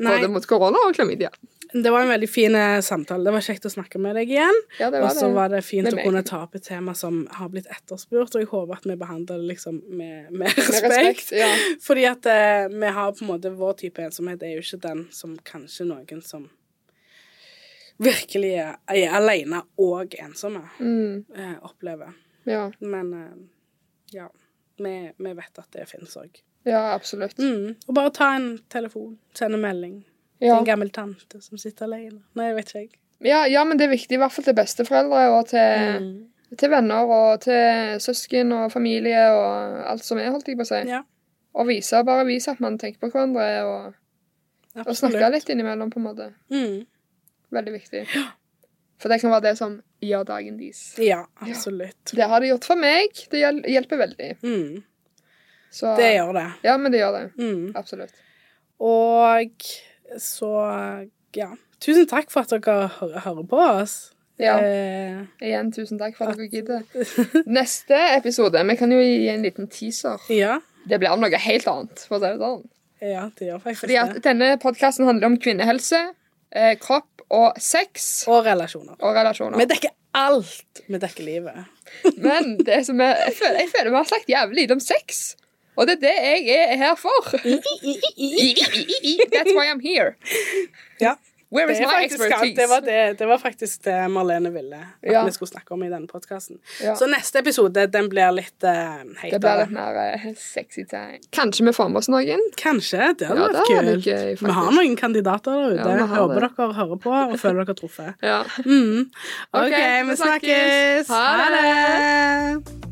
B: Nei,
A: Både mot korona og klamydia.
B: det var en veldig fin eh, samtale. Det var kjekt å snakke med deg igjen.
A: Ja, det
B: Og
A: var
B: så
A: det.
B: var det fint
A: Med
B: å
A: meg.
B: kunne ta opp et tema som har blitt etterspurt, og jeg håper at vi behandler det liksom med, med
A: Med
B: respekt.
A: respekt. Ja.
B: Fordi at eh, vi har på en måte Vår type ensomhet er jo ikke den som kanskje noen som virkelig er, er alene og ensomme,
A: Mm,
B: eh, opplever.
A: ja.
B: Men eh, ja, vi, vi vet at det finnes òg.
A: ja, absolutt.
B: Mm. Og bare ta en telefon, send en melding til
A: Ja.
B: en gammel tante som sitter alene. Nei, jeg vet ikke, jeg.
A: Ja, ja, men det er viktig, i hvert fall til besteforeldre og til,
B: Mm.
A: til venner og til søsken og familie og alt som er, holdt jeg på å si.
B: Ja,
A: Og vise, bare vise at man tenker på hverandre og, og snakke
B: absolutt.
A: litt innimellom, på en måte.
B: Mm.
A: Veldig viktig. For det kan være det som gjør dagen deres.
B: Ja, absolutt.
A: Det har det gjort for meg. Det hjel- hjelper veldig.
B: Mm.
A: Så,
B: Det gjør det.
A: Ja, men det gjør det.
B: Mm.
A: Absolutt.
B: Og så ja. Tusen takk for at dere hø- hører på oss.
A: Ja.
B: Eh,
A: Igjen, tusen takk for at dere gidder. Neste episode Vi kan jo gi en liten teaser.
B: ja.
A: Det blir noe helt annet. for å si det sånn.
B: ja, det gjør faktisk
A: Fordi at
B: det.
A: denne podkasten handler om kvinnehelse, eh, kropp og sex
B: Og relasjoner.
A: og
B: Vi
A: relasjoner.
B: dekker alt. Vi dekker livet.
A: Men det som er, jeg, føler, jeg føler vi har snakket jævlig lite om sex. Og det er det jeg er her for. That's why I'm here.
B: Ja.
A: Where is
B: Det, er
A: my
B: faktisk, alt.
A: expertise?
B: det, var det, det var faktisk det Marlene ville at
A: Ja.
B: vi skulle snakke om i denne podkasten.
A: Ja.
B: Så neste episode den blir litt uh,
A: Det blir litt mer eh, sexy time. Kanskje vi får med oss noen?
B: Kanskje. Det hadde
A: Ja,
B: vært
A: det hadde vært
B: kult.
A: gøy,
B: vi har
A: faktisk.
B: noen kandidater der ute.
A: Ja, vi har
B: Håper
A: det.
B: dere hører på og føler dere truffet.
A: Ja.
B: Mm. OK,
A: Ok,
B: vi
A: vi snakkes.
B: snakkes.
A: Ha det.
B: det.